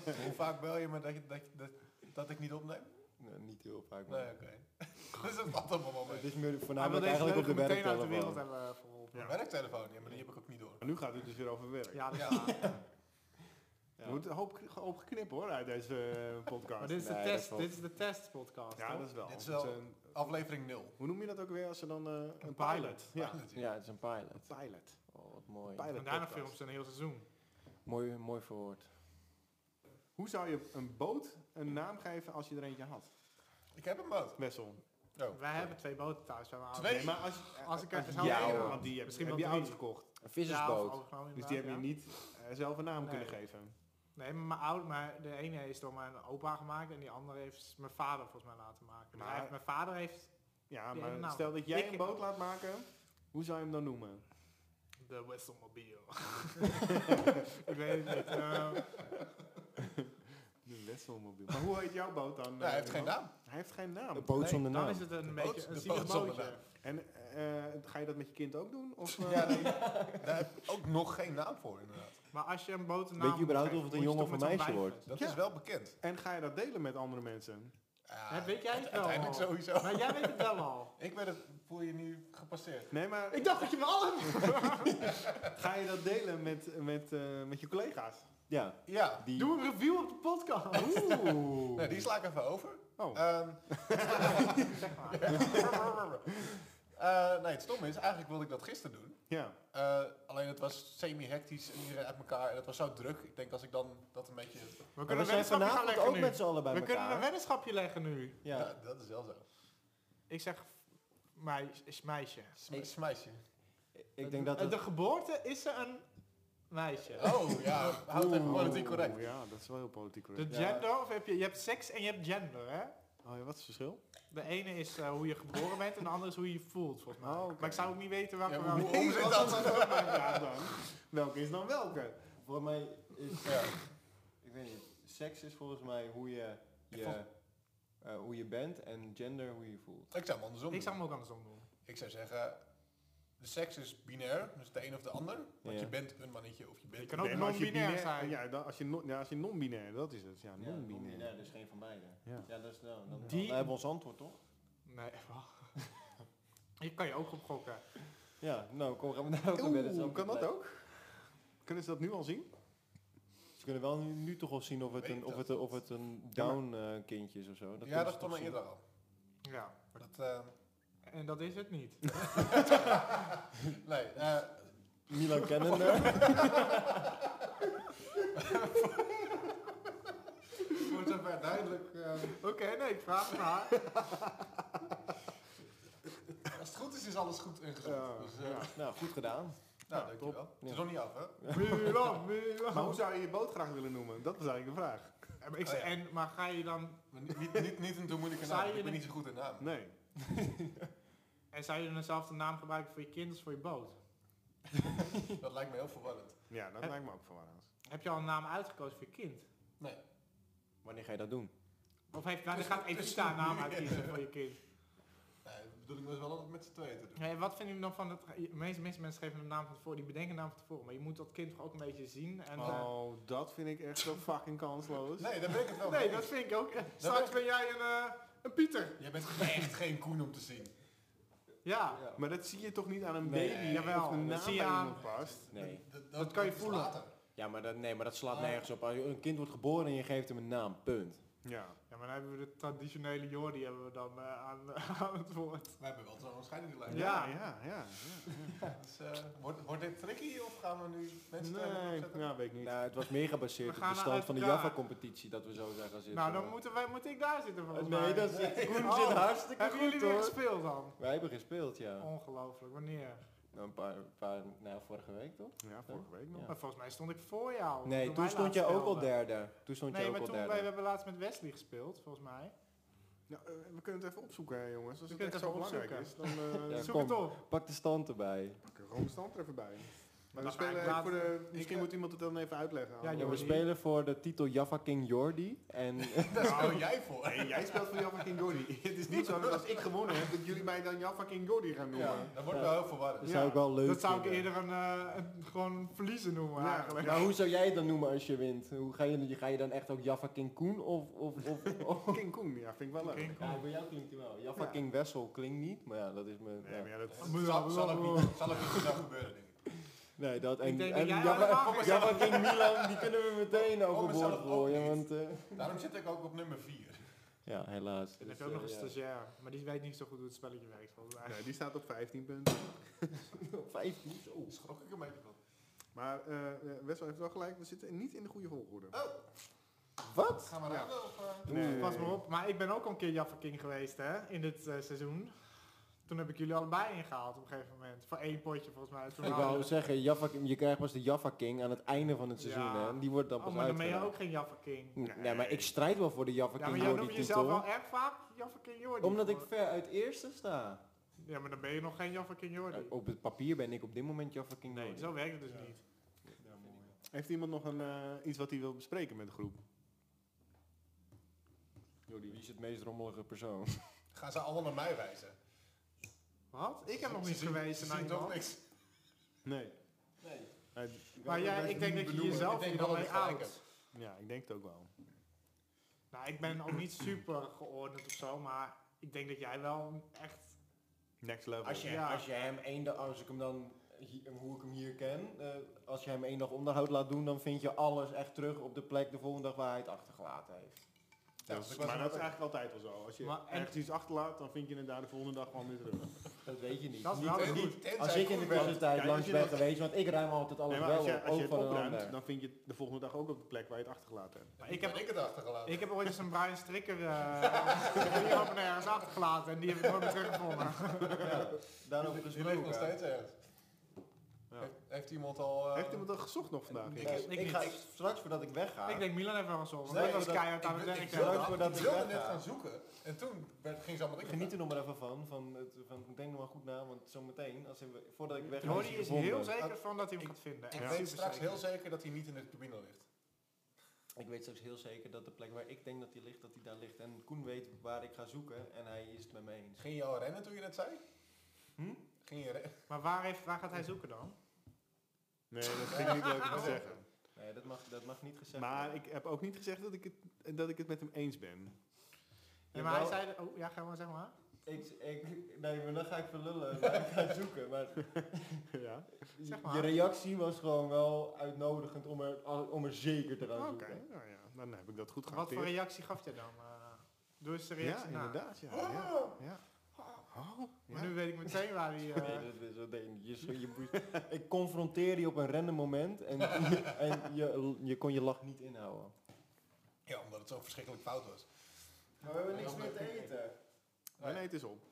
C: Hoe vaak bel je me dat, je, dat, je- dat, dat ik niet opneem?
B: Nee, niet heel vaak. maar-
C: Nee, oké. dus dat valt allemaal wel
B: Het
C: mee.
B: is meer
D: Hij wil
B: voornamelijk
D: Ah, deze
B: eigenlijk op de
D: leugen meteen uit de wereld
B: werktelefoon.
D: hebben eh, verholpen.
A: Ja.
D: Ja,
C: Werktelefoon, ja, maar die heb ik ook niet door.
A: maar nu gaat het dus weer over werk.
D: dat
C: Ja.
D: is waar.
A: Er wordt een hoop, ge- hoop geknippen hoor uit deze eh,
D: Maar
A: podcast.
D: dit is de
B: Nee, dat
D: test,
B: valt-
D: dit is de testpodcast.
A: ja,
D: toch?
A: dat is wel.
C: Dit is wel-
A: Het is een-
C: Aflevering 0.
A: hoe noem je dat ook weer als ze dan... eh, een
D: pilot.
A: Ja,
B: Ja, het is een pilot.
A: een pilot.
B: Oh, wat mooi.
A: Pilot
D: en daarna
A: podcast.
D: filmt ze een heel seizoen.
B: Mooi, mooi verwoord.
A: Hoe zou je een boot een naam geven als je er eentje had?
C: Ik heb een boot.
A: Wessel.
C: Oh.
D: Wij hebben twee boten thuis bij mijn ouders.
C: Twee?
A: Nee, maar als, eh,
D: Als ik er
A: als
D: zou
A: jij-
B: één
A: want
D: houden.
A: die heb,
D: Misschien
A: heb
D: wel
A: je
D: drie.
A: ouders gekocht.
B: Een
D: Ja, of
B: vissersboot.
D: overgenomen
A: Dus die
D: inderdaad,
A: hebben je niet eh, zelf een naam
D: Nee.
A: kunnen geven.
D: ja. Nee, maar mijn oud, maar de ene is door mijn opa gemaakt en die andere heeft mijn vader volgens mij laten maken. Dus
A: Maar-
D: hij heeft- mijn vader heeft
A: Ja,
D: Die
A: maar
D: hebben naam.
A: stel dat jij
D: Ik-
A: een boot laat maken, hoe zou je hem dan noemen?
D: de Wesselmobile. ik weet het niet.
B: Nou.
D: eh,
A: De Wesselmobiel. Maar hoe heet jouw boot dan?
C: Ja, hij heeft
A: eh,
C: geen
A: Iwan?
C: naam.
A: Hij heeft geen
B: Een
A: naam.
B: boot
C: Nee,
B: zonder
D: dan
B: naam.
D: is het een
C: boot-
D: beetje
C: de
D: een zielig
C: boot zonder
D: bootje.
C: naam.
A: En eh, ga je dat met je kind ook doen? Of, eh,
C: Ja, nee, daar heb ik ook nog geen naam voor inderdaad.
D: Maar als je een botennaam
B: Weet je überhaupt
D: moet
B: of het
D: geven,
B: een
D: moet je
B: jongen
D: toch
B: of
D: met
B: een
D: zo'n
B: meisje
D: bijvest.
C: Dat
A: Ja.
C: is wel bekend.
A: En ga je dat delen met andere mensen?
C: Ja,
D: Dat weet jij het wel.
C: Uiteindelijk sowieso.
D: Maar jij weet het wel al.
C: Ik ben het, voel je nu gepasseerd.
A: Nee, maar
D: Ik dacht dat je me al hebt.
A: ga je dat delen met, met, eh, met je collega's?
B: Ja,
C: Ja,
B: die...
D: Doe een review op de podcast.
A: Oeh.
C: nou, die sla ik even over.
A: Oh.
C: Ehm,
D: Zeg maar.
C: eh, nee, het stomme is, eigenlijk wilde ik dat gisteren doen.
A: Ja.
C: Eh, alleen het was semi-hectisch en iedereen uit elkaar en het was zo druk. Ik denk als ik dan dat een beetje...
D: We
B: Maar
D: kunnen
B: we
D: een
B: zijn
D: weddenschapje gaan
B: vanavond
D: leggen
B: ook
D: nu.
B: met z'n allen bij
D: We kunnen een
B: elkaar.
D: weddenschapje leggen nu.
C: Ja.
B: Ja.
C: dat is wel zo.
D: Ik zeg meis, is meisje. Eh,
C: Sm
B: Ik-
C: Smijsje.
B: Ik denk dat het...
D: De geboorte is er een meisje.
C: Oh ja, houd het even politiek correct.
A: Oeh, Ja, dat is wel heel politiek
D: De
A: correct.
B: Ja.
D: gender, of heb je, je hebt seks en je hebt gender, hè?
A: Oh, ja, wat is het verschil?
D: De ene is eh, hoe je geboren bent en de andere is hoe je je voelt, volgens mij.
A: Oh, oké.
D: Maar ik zou ook niet weten welke...
C: Ja,
D: wel-
C: hoe- hoe zit dat?
D: ook mijn vraag dan.
A: Welke is dan welke?
B: Volgens mij is... ik weet niet. Seks is volgens mij hoe je, eh,
C: je, Volgens-
B: hoe je bent en gender hoe je voelt.
C: Ik zou hem andersom
D: Ik
C: doen.
D: zou hem ook andersom doen.
C: Ik zou zeggen, de seks is binair, dus de een of de ander. Want
B: Ja.
C: je bent een mannetje of je bent
D: Je kan
C: een
D: ook
A: Nee,
C: vrouw.
A: maar als je
D: non-binair
A: binair-
D: zijn.
A: Ja, dan, als je, no- ja, als je non-binair, dat is het. Ja,
B: Ja,
A: non-binair.
B: non-binair, dus geen van beide.
A: Ja.
B: dat is nou. Dan,
D: Die-
B: dan hebben we ons antwoord, toch?
D: Nee, wacht. Je kan je ook op gokken.
B: Ja, nou, kom, gaan we daar ook
A: Oeh,
B: weer eens op
A: kan dat
B: blijven.
A: ook? Kunnen ze dat nu al zien?
B: Ze kunnen wel nu, nu toch al zien of het
C: Weet
B: een, of
C: dat
B: het, een- of het een down eh, kindje is of zo. Dat
C: Ja,
B: kunnen
C: dat
B: ze
C: kwam
B: toch
C: al
B: zien.
C: eerder al.
D: Ja.
C: Maar dat, eh,
D: En dat is het niet.
C: nee, eh,
B: Milan kennen.
C: voor zover duidelijk. eh,
D: Oké, nee, ik vraag het maar.
C: als het goed is, is alles goed en gezond.
A: Ja,
C: dus, eh,
A: ja.
B: nou, goed gedaan.
C: Nou, dankjewel. Het is
B: Ja.
C: nog niet af, hè?
D: Milan,
A: Maar
D: Milan.
A: hoe zou je je boot graag willen noemen? Dat was eigenlijk de vraag.
D: Ja, maar ik
C: Oh
D: zeg,
C: ja.
D: en, maar ga je dan...
C: Maar niet, niet, niet, niet een te moeilijke
D: Zou
C: naam.
D: je
C: Ik ben
D: een-
C: niet zo goed in naam.
A: Nee.
D: En zou je dan dezelfde naam gebruiken voor je kind als voor je boot?
C: Dat lijkt me heel verwarrend.
A: Ja, dat
D: Heb-
A: lijkt me ook verwarrend.
D: Heb je al een naam uitgekozen voor je kind?
C: Nee.
B: Wanneer ga je dat doen?
D: Of heeft, nou, dan
C: Tussen-
D: gaat Evita
C: tussen-
D: een naam uitkiezen voor je kind.
C: Nee, de bedoeling was wel om het met z'n tweeën te doen.
D: Nee, wat vinden jullie dan van het... De meeste, meeste mensen geven een naam van tevoren. Die bedenken een naam van tevoren. Maar je moet dat kind toch ook een beetje zien. En, eh,
A: Oh, dat vind ik echt zo fucking kansloos.
C: Nee, daar ben ik het wel
D: nee,
C: mee
D: dat
C: eens.
D: vind ik ook. Eh, Straks ben jij een, eh, een Pieter.
C: Jij bent echt geen koen om te zien.
D: Ja.
A: Maar dat zie je toch niet aan een
B: Nee.
A: baby?
D: Jawel,
A: of de
D: dat
A: naam
D: zie je
A: bij
D: aan-
A: iemand past.
B: Nee.
C: Dat, dat-
D: Dat kan je
C: dat is
D: voelen.
C: later.
B: Ja, maar dat, nee, maar dat
D: Ah.
B: slaat nergens op. Als je- Een kind wordt geboren en je geeft hem een naam, punt.
A: Ja.
D: Ja, maar dan hebben we de traditionele Jordi hebben we dan eh, aan, aan het woord.
C: We hebben wel zo'n scheidingslijn.
A: Ja,
D: Ja.
A: ja, ja.
C: Dus, eh, wordt, wordt dit tricky of gaan we nu mensen
A: Nee,
C: tegen
A: nou, weet ik niet.
B: Nou, het was meer gebaseerd
D: We
B: op
D: gaan
B: de stand
D: uit
B: van de
D: elkaar.
B: Java-competitie, dat we zo zijn gaan zitten.
D: Nou, dan moeten wij, moet ik daar zitten volgens mij.
B: Nee, dat zit Koen
D: Oh,
B: zit hartstikke
D: Hebben jullie
B: goed,
D: weer
B: hoor.
D: gespeeld dan?
B: Wij hebben gespeeld, ja.
D: Ongelooflijk, wanneer?
B: Nou, een paar, een paar nou, vorige week, toch?
A: Ja, vorige week nog.
B: Ja.
D: Maar volgens mij stond ik Oh, voor jou.
B: Nee, toen
D: wij
B: stond jij
D: laatst
B: ook al
D: speelden.
B: derde. Toen stond jij
D: Nee,
B: ook
D: maar
B: al
D: toen wij, we
B: derde.
D: hebben laatst met Wesley gespeeld, volgens mij.
A: Nou, eh, we kunnen het even opzoeken, hè, jongens. Als het
D: We kunnen
A: echt
D: het
A: zo
D: even
A: belangrijk is, dan eh
B: Ja,
D: Zoek
B: kom.
D: het op.
B: Pak de stand erbij.
A: pak ik gewoon de stand er even bij. Maar we
D: dan
A: spelen
D: ga ik
A: even voor
D: later-
A: de, misschien
C: eh,
A: moet iemand Nou, het dan even uitleggen.
D: Ja,
A: aan
B: Ja, we
A: de-
D: Jordi.
B: spelen voor de titel Java King Jordi. En
C: Daar speel jij voor.
A: Nee, jij speelt voor Jaffa King Jordi. het is niet zo dat als ik gewonnen heb, dat jullie mij dan Jaffa King Jordi gaan noemen.
B: Ja.
C: Dat wordt wel heel verwarrend.
B: dat
A: Ja,
B: zou ik wel leuk
D: dat zou ik
B: vinden.
D: eerder een, eh, een- gewoon een verliezen noemen
A: Ja.
D: eigenlijk.
B: Maar Nou, hoe zou jij het dan noemen als je wint? Hoe ga, je, ga je dan echt ook Java King Koen of... of, of, of
A: King Koen, ja, vind ik wel leuk.
D: King Koen.
B: ja, bij jou klinkt hij wel. Java
A: Ja.
B: King Wessel klinkt niet, maar ja, dat is mijn...
A: Nee,
B: ja.
A: maar ja, dat,
C: Het Zal, zal ook niet, zal ook niet zo gebeuren, denk ik.
B: Nee, dat en,
D: Ik denk dat
B: en
D: jij
B: Java,
D: allemaal
B: Java
D: geen-
B: King Milan, die kunnen we meteen overboord
C: mezelf ook
B: gooien,
C: niet.
B: want... eh,
C: Daarom zit ik ook op nummer 4.
B: ja, helaas. Dus,
D: Dan heb je ook
B: eh,
D: nog een
B: ja.
D: stagiair, maar die weet niet zo goed hoe het spelletje werkt volgens mij.
A: nee, die staat op 15 punten.
B: 15, zo.
D: Oh.
C: Schrok ik een beetje van.
A: Maar eh, eh, Wessel heeft wel gelijk, we zitten niet in de goede volgorde.
B: Wat?
C: Gaan we
A: Ja.
C: raden of... eh?
A: Nee.
D: Pas maar op, maar ik ben ook al een keer Jaffa King geweest hè, in dit eh, seizoen. Toen heb ik jullie allebei ingehaald op een gegeven moment. Voor één potje volgens mij. Toen
B: Ik
D: hadden-
B: wou zeggen, Java, je krijgt pas de Java King aan het einde van het seizoen,
D: Ja.
B: hè. Die wordt dan pas
D: Oh, maar dan ben je
B: uitgereikt.
D: ook geen Jaffa King.
B: Nee, maar ik strijd wel voor de Java
D: Ja, maar
B: King
D: jij
B: Jordi
D: noemt jezelf
B: titel.
D: wel erg vaak Jaffa King Jordi.
B: Omdat ik ver uit eerste sta.
D: Ja, maar dan ben je nog geen Jaffa King Jordi.
B: Op het papier ben ik op dit moment Java King
D: Nee,
B: Jordi.
D: zo werkt het dus
C: Ja.
D: niet.
A: Heeft iemand nog een, eh, iets wat hij wil bespreken met de groep?
B: Wie is het meest rommelige persoon?
C: Gaan ze allemaal naar mij wijzen?
D: Wat? Ik heb nog
C: Ze
D: niet
C: zien-
D: gewezen
C: ze
D: naar
C: zien toch
D: iemand.
C: niks.
A: Nee.
C: Nee.
A: Hij-
D: Maar
A: ja,
D: jij, ik denk dat je
C: benoemen. Ik
D: jezelf
C: denk
D: hier
C: wel
D: dan
C: dat
D: mee
C: ik gelijk
D: out.
A: ik denk het ook wel.
D: Nou, ik ben ook niet super geordend of zo, maar ik denk dat jij wel echt...
A: Next level.
B: Als je,
D: Ja.
B: als je hem één dag, als ik hem dan, hi- hoe ik hem hier ken, eh, als je hem één dag onderhoud laat doen, dan vind je alles echt terug op de plek de volgende dag waar hij het achtergelaten heeft.
C: Ja,
A: Dat is-
C: ik was
A: maar
C: er
A: dat is
C: ook.
A: eigenlijk altijd wel zo. Als je
D: Maar- en-
A: ergens iets achterlaat, dan vind je het daar de volgende dag gewoon weer terug.
B: Dat weet je niet.
D: Dat is
B: Niet-
D: wel
C: Tenzij-
D: goed.
C: tenzij
B: als ik in de
C: Koen wel-
B: tussentijd
A: Kijk, als
B: langs
A: je
B: ben
A: dat-
B: geweest, want ik ruim altijd alles
A: Nee, maar
B: wel
A: als je,
B: op,
A: als je
B: ook
A: het
B: van een
A: opruimt,
B: ander.
A: dan vind je het de volgende dag ook op de plek waar je het achtergelaten hebt.
D: Maar ik heb-
C: ben ik het achtergelaten.
D: Ik heb ooit eens een Brian Strikker eh hier op en ergens achtergelaten en die heb ik nooit meer teruggevonden.
B: Daarover
C: Die leeft nog
B: gesproken.
C: steeds ergens.
A: Ja.
C: Heeft, heeft iemand al... eh,
A: Heeft iemand dat gezocht nog vandaag?
B: Ik,
D: heb-
B: ik,
D: ik niet.
B: ga straks voordat ik wegga.
D: Ik denk Milan heeft wel gezond, want
B: Nee,
D: dat was
B: dat-
D: keihard
B: ik-
D: aan het
B: ik-
D: werk.
B: ik-
D: hè.
B: ik- voordat
C: ik
B: ik
C: wilde
B: wegga.
C: net gaan zoeken. En toen werd, ging ze allemaal
B: Ik
C: dingen.
B: geniet er nog maar even van. van, het, van ik denk nog maar goed na, want zometeen, als hij- voordat ik weg ga,
D: Jordi
B: hij
D: is
B: gevonden.
D: heel zeker van dat hij hem gaat vinden.
C: Ik
D: Echt
C: weet
D: super
C: straks
D: zeker.
C: heel zeker dat hij niet in de cabine ligt.
B: Ik weet straks heel zeker dat de plek waar ik denk dat hij ligt, dat hij daar ligt. En Koen weet waar ik ga zoeken en hij is het met me eens.
C: Ging je al rennen toen je dat zei?
B: Hm?
C: Ging je rennen?
D: Maar waar, heeft, waar gaat hij zoeken dan?
A: Nee, dat vind ik niet leuk om te zeggen.
B: Nee, dat mag, dat mag niet gezegd
A: Maar
B: worden.
A: ik heb ook niet gezegd dat ik het, dat ik het met hem eens ben.
D: Ja, maar hij
B: Jawel.
D: zei... Oh, ja, ga maar, zeg maar.
B: Ik, ik, nee, maar dan ga ik verlullen waar ik ga zoeken. Maar
A: ja.
D: Zeg maar.
B: je reactie was gewoon wel uitnodigend om er, om er zeker te gaan
D: Oké.
B: zoeken.
A: Nou ja, dan heb ik dat goed
D: Wat voor
A: gehanteerd.
D: reactie gaf jij dan? eh? doe eens de
A: Ja,
D: reactie na.
A: inderdaad. Ja, ja.
B: Ah!
A: ja. Oh,
D: Maar
A: ja.
D: nu weet ik meteen waar hij... eh,
B: Nee, dat is wat een- je, zo- je moest- ik confronteer je op een random moment en, en je, je kon je lach niet inhouden.
C: Ja, omdat het zo verschrikkelijk fout was.
B: Maar we hebben niks meer te eten.
A: Nee, nee, het is op.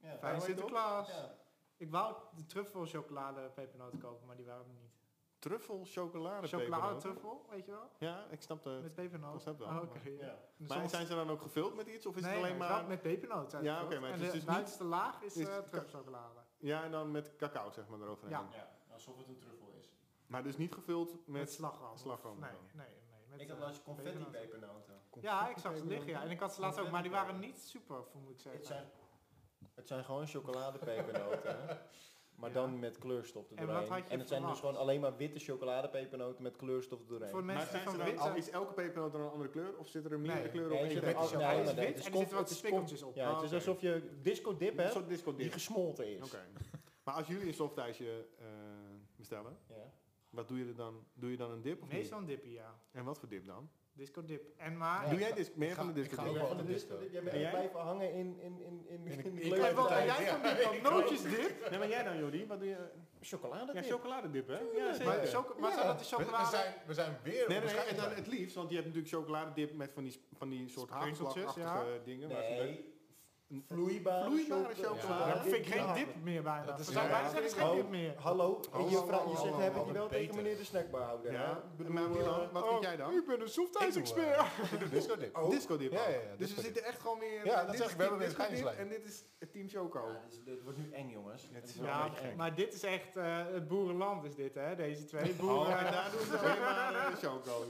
B: Ja.
D: Fijn
A: Hij zit op.
D: Sinterklaas.
B: Ja.
D: Ik wou de truffel chocolade pepernoten kopen, maar die waren er niet.
A: Truffel, chocolade,
D: Chocolade
A: pepernoot.
D: truffel, weet je wel?
A: Ja, ik snap de...
D: Met pepernoot.
A: concept wel,
D: Oh, oké,
A: maar-
D: ja.
B: Ja.
D: Dus
A: Maar
D: soms-
A: zijn ze dan ook gevuld met iets? Of is
D: Nee,
A: het alleen
D: nee,
A: maar...
D: met pepernoot zijn
A: Ja,
D: het
A: oké,
D: gevuld.
A: maar het
D: En
A: is
D: de
A: dus niet-
D: buitenste laag is,
A: is-
D: eh truffelchocolade.
A: Ja, en dan met cacao, zeg maar, eroverheen.
D: Ja.
B: alsof het een truffel is.
A: Maar dus niet gevuld
D: Met,
A: met...
D: slagroom.
A: slagroom.
D: Nee, nee, nee. Met,
B: ik had
D: eh,
B: laatst confetti
D: pepernoten.
B: pepernoten.
D: Ja, ik zag ze liggen, ja. En ik had ze laatst ook, maar die
B: Confetti
D: waren niet super, moet ik
B: Het
D: zeggen.
B: zijn, het zijn gewoon chocoladepepernoten. hè. Maar
D: Ja.
B: dan met kleurstof
D: En wat
B: erdoorheen.
D: had je
B: en het zijn dus
D: verwacht?
B: gewoon alleen maar witte chocoladepepernoten met kleurstof erdoorheen.
D: Voor de
A: Maar
D: mensen die
A: zijn ze
D: van
A: dan,
D: wit
A: al-
D: zijn...
A: is elke pepernoot dan een andere kleur? Of zitten er meerdere
D: Nee.
A: kleuren
B: Nee,
A: op
B: je
A: één
B: zit met
A: pepernoot?
B: al-
D: Hij is
B: maar
D: wit
B: het is
D: en er
B: conf-
D: zitten wat
B: het is conf-
D: spikkeltjes op. Oh,
B: Ja, het is
A: oké.
B: alsof je disco dip
A: Een
B: hebt
A: soort disco
B: die
A: dip.
B: gesmolten is.
A: Oké. Maar als jullie een softijsje eh bestellen,
B: Ja.
A: wat doe je er dan? Doe je dan een dip of niet?
D: Meestal een dippie, ja.
A: En wat voor dip dan?
D: Disco dip. En maar...
B: Ja,
A: doe
B: ik
A: jij
C: ga-
A: disc meer
C: ik
A: van
C: ga-
A: de disco
C: ik ga
A: dip?
C: ook wel.
B: Jij bent
C: disco.
B: disco- jij
A: En
B: bent
A: jij?
B: blijven hangen in, in, in, in, in,
C: ik-
B: in
C: ik
D: En wat
C: Ja,
D: en jij
C: ja.
D: van dit dan? Nootjes dip?
A: Nee, maar jij dan Jordi? Wat doe je? Ja,
B: chocoladedip.
A: chocoladedip hè? Ja,
B: Tuurlijk.
A: zeker.
D: Maar, choco- maar
B: Ja.
D: zou dat de
C: We, we
D: chocolade...
C: zijn, we zijn weer
A: Nee, nee, nee,
C: onbescheiden.
A: en dan het liefst, want je hebt natuurlijk chocoladedip met van die, s- van die soort
D: Sprinkeltjes,
A: hagelslagachtige dingen. waar ze leuk-
B: Nee, vloeibare,
A: Vloeibare
B: choco-
A: chocolade.
D: Dat vind ik geen
B: Ja.
D: dip meer bijna.
C: Dat
D: We
C: is-
D: zijn
A: ja,
D: bijna
A: ja.
D: zeggen, het is geen
B: Oh.
D: dip meer.
B: Hallo,
A: Hallo,
B: je, vra-
A: hallo,
B: je zegt,
A: hallo,
B: heb ik
A: hallo,
B: die wel tegen
C: beter.
B: meneer de snackbarhouder? hè?
A: Ja,
B: Ik bedoel,
A: maar Milan, Oh,
B: eh,
A: wat vind jij dan?
D: Ik ben een
C: Ik doe,
D: softijs-expert.
C: eh, ik doe disco dip.
B: Oh.
A: Disco dip.
C: Ja, ja, ja,
A: ook.
C: disco
A: dus we
C: dip.
A: zitten echt gewoon weer. Oh.
C: Ja, dat
A: dit
C: zeg
A: is
C: ik, we
A: team
C: hebben weer
A: disco
C: een
A: dip
C: scheidslijn.
A: en dit is het team Choco.
B: Ja, dit, is- dit wordt nu eng, jongens.
A: Het is wel
D: Ja,
B: een beetje eng.
D: maar dit is echt eh, het boerenland is dit, hè? Deze twee boeren.
A: Oh, en daar doen ze alleen maar eh, Choco.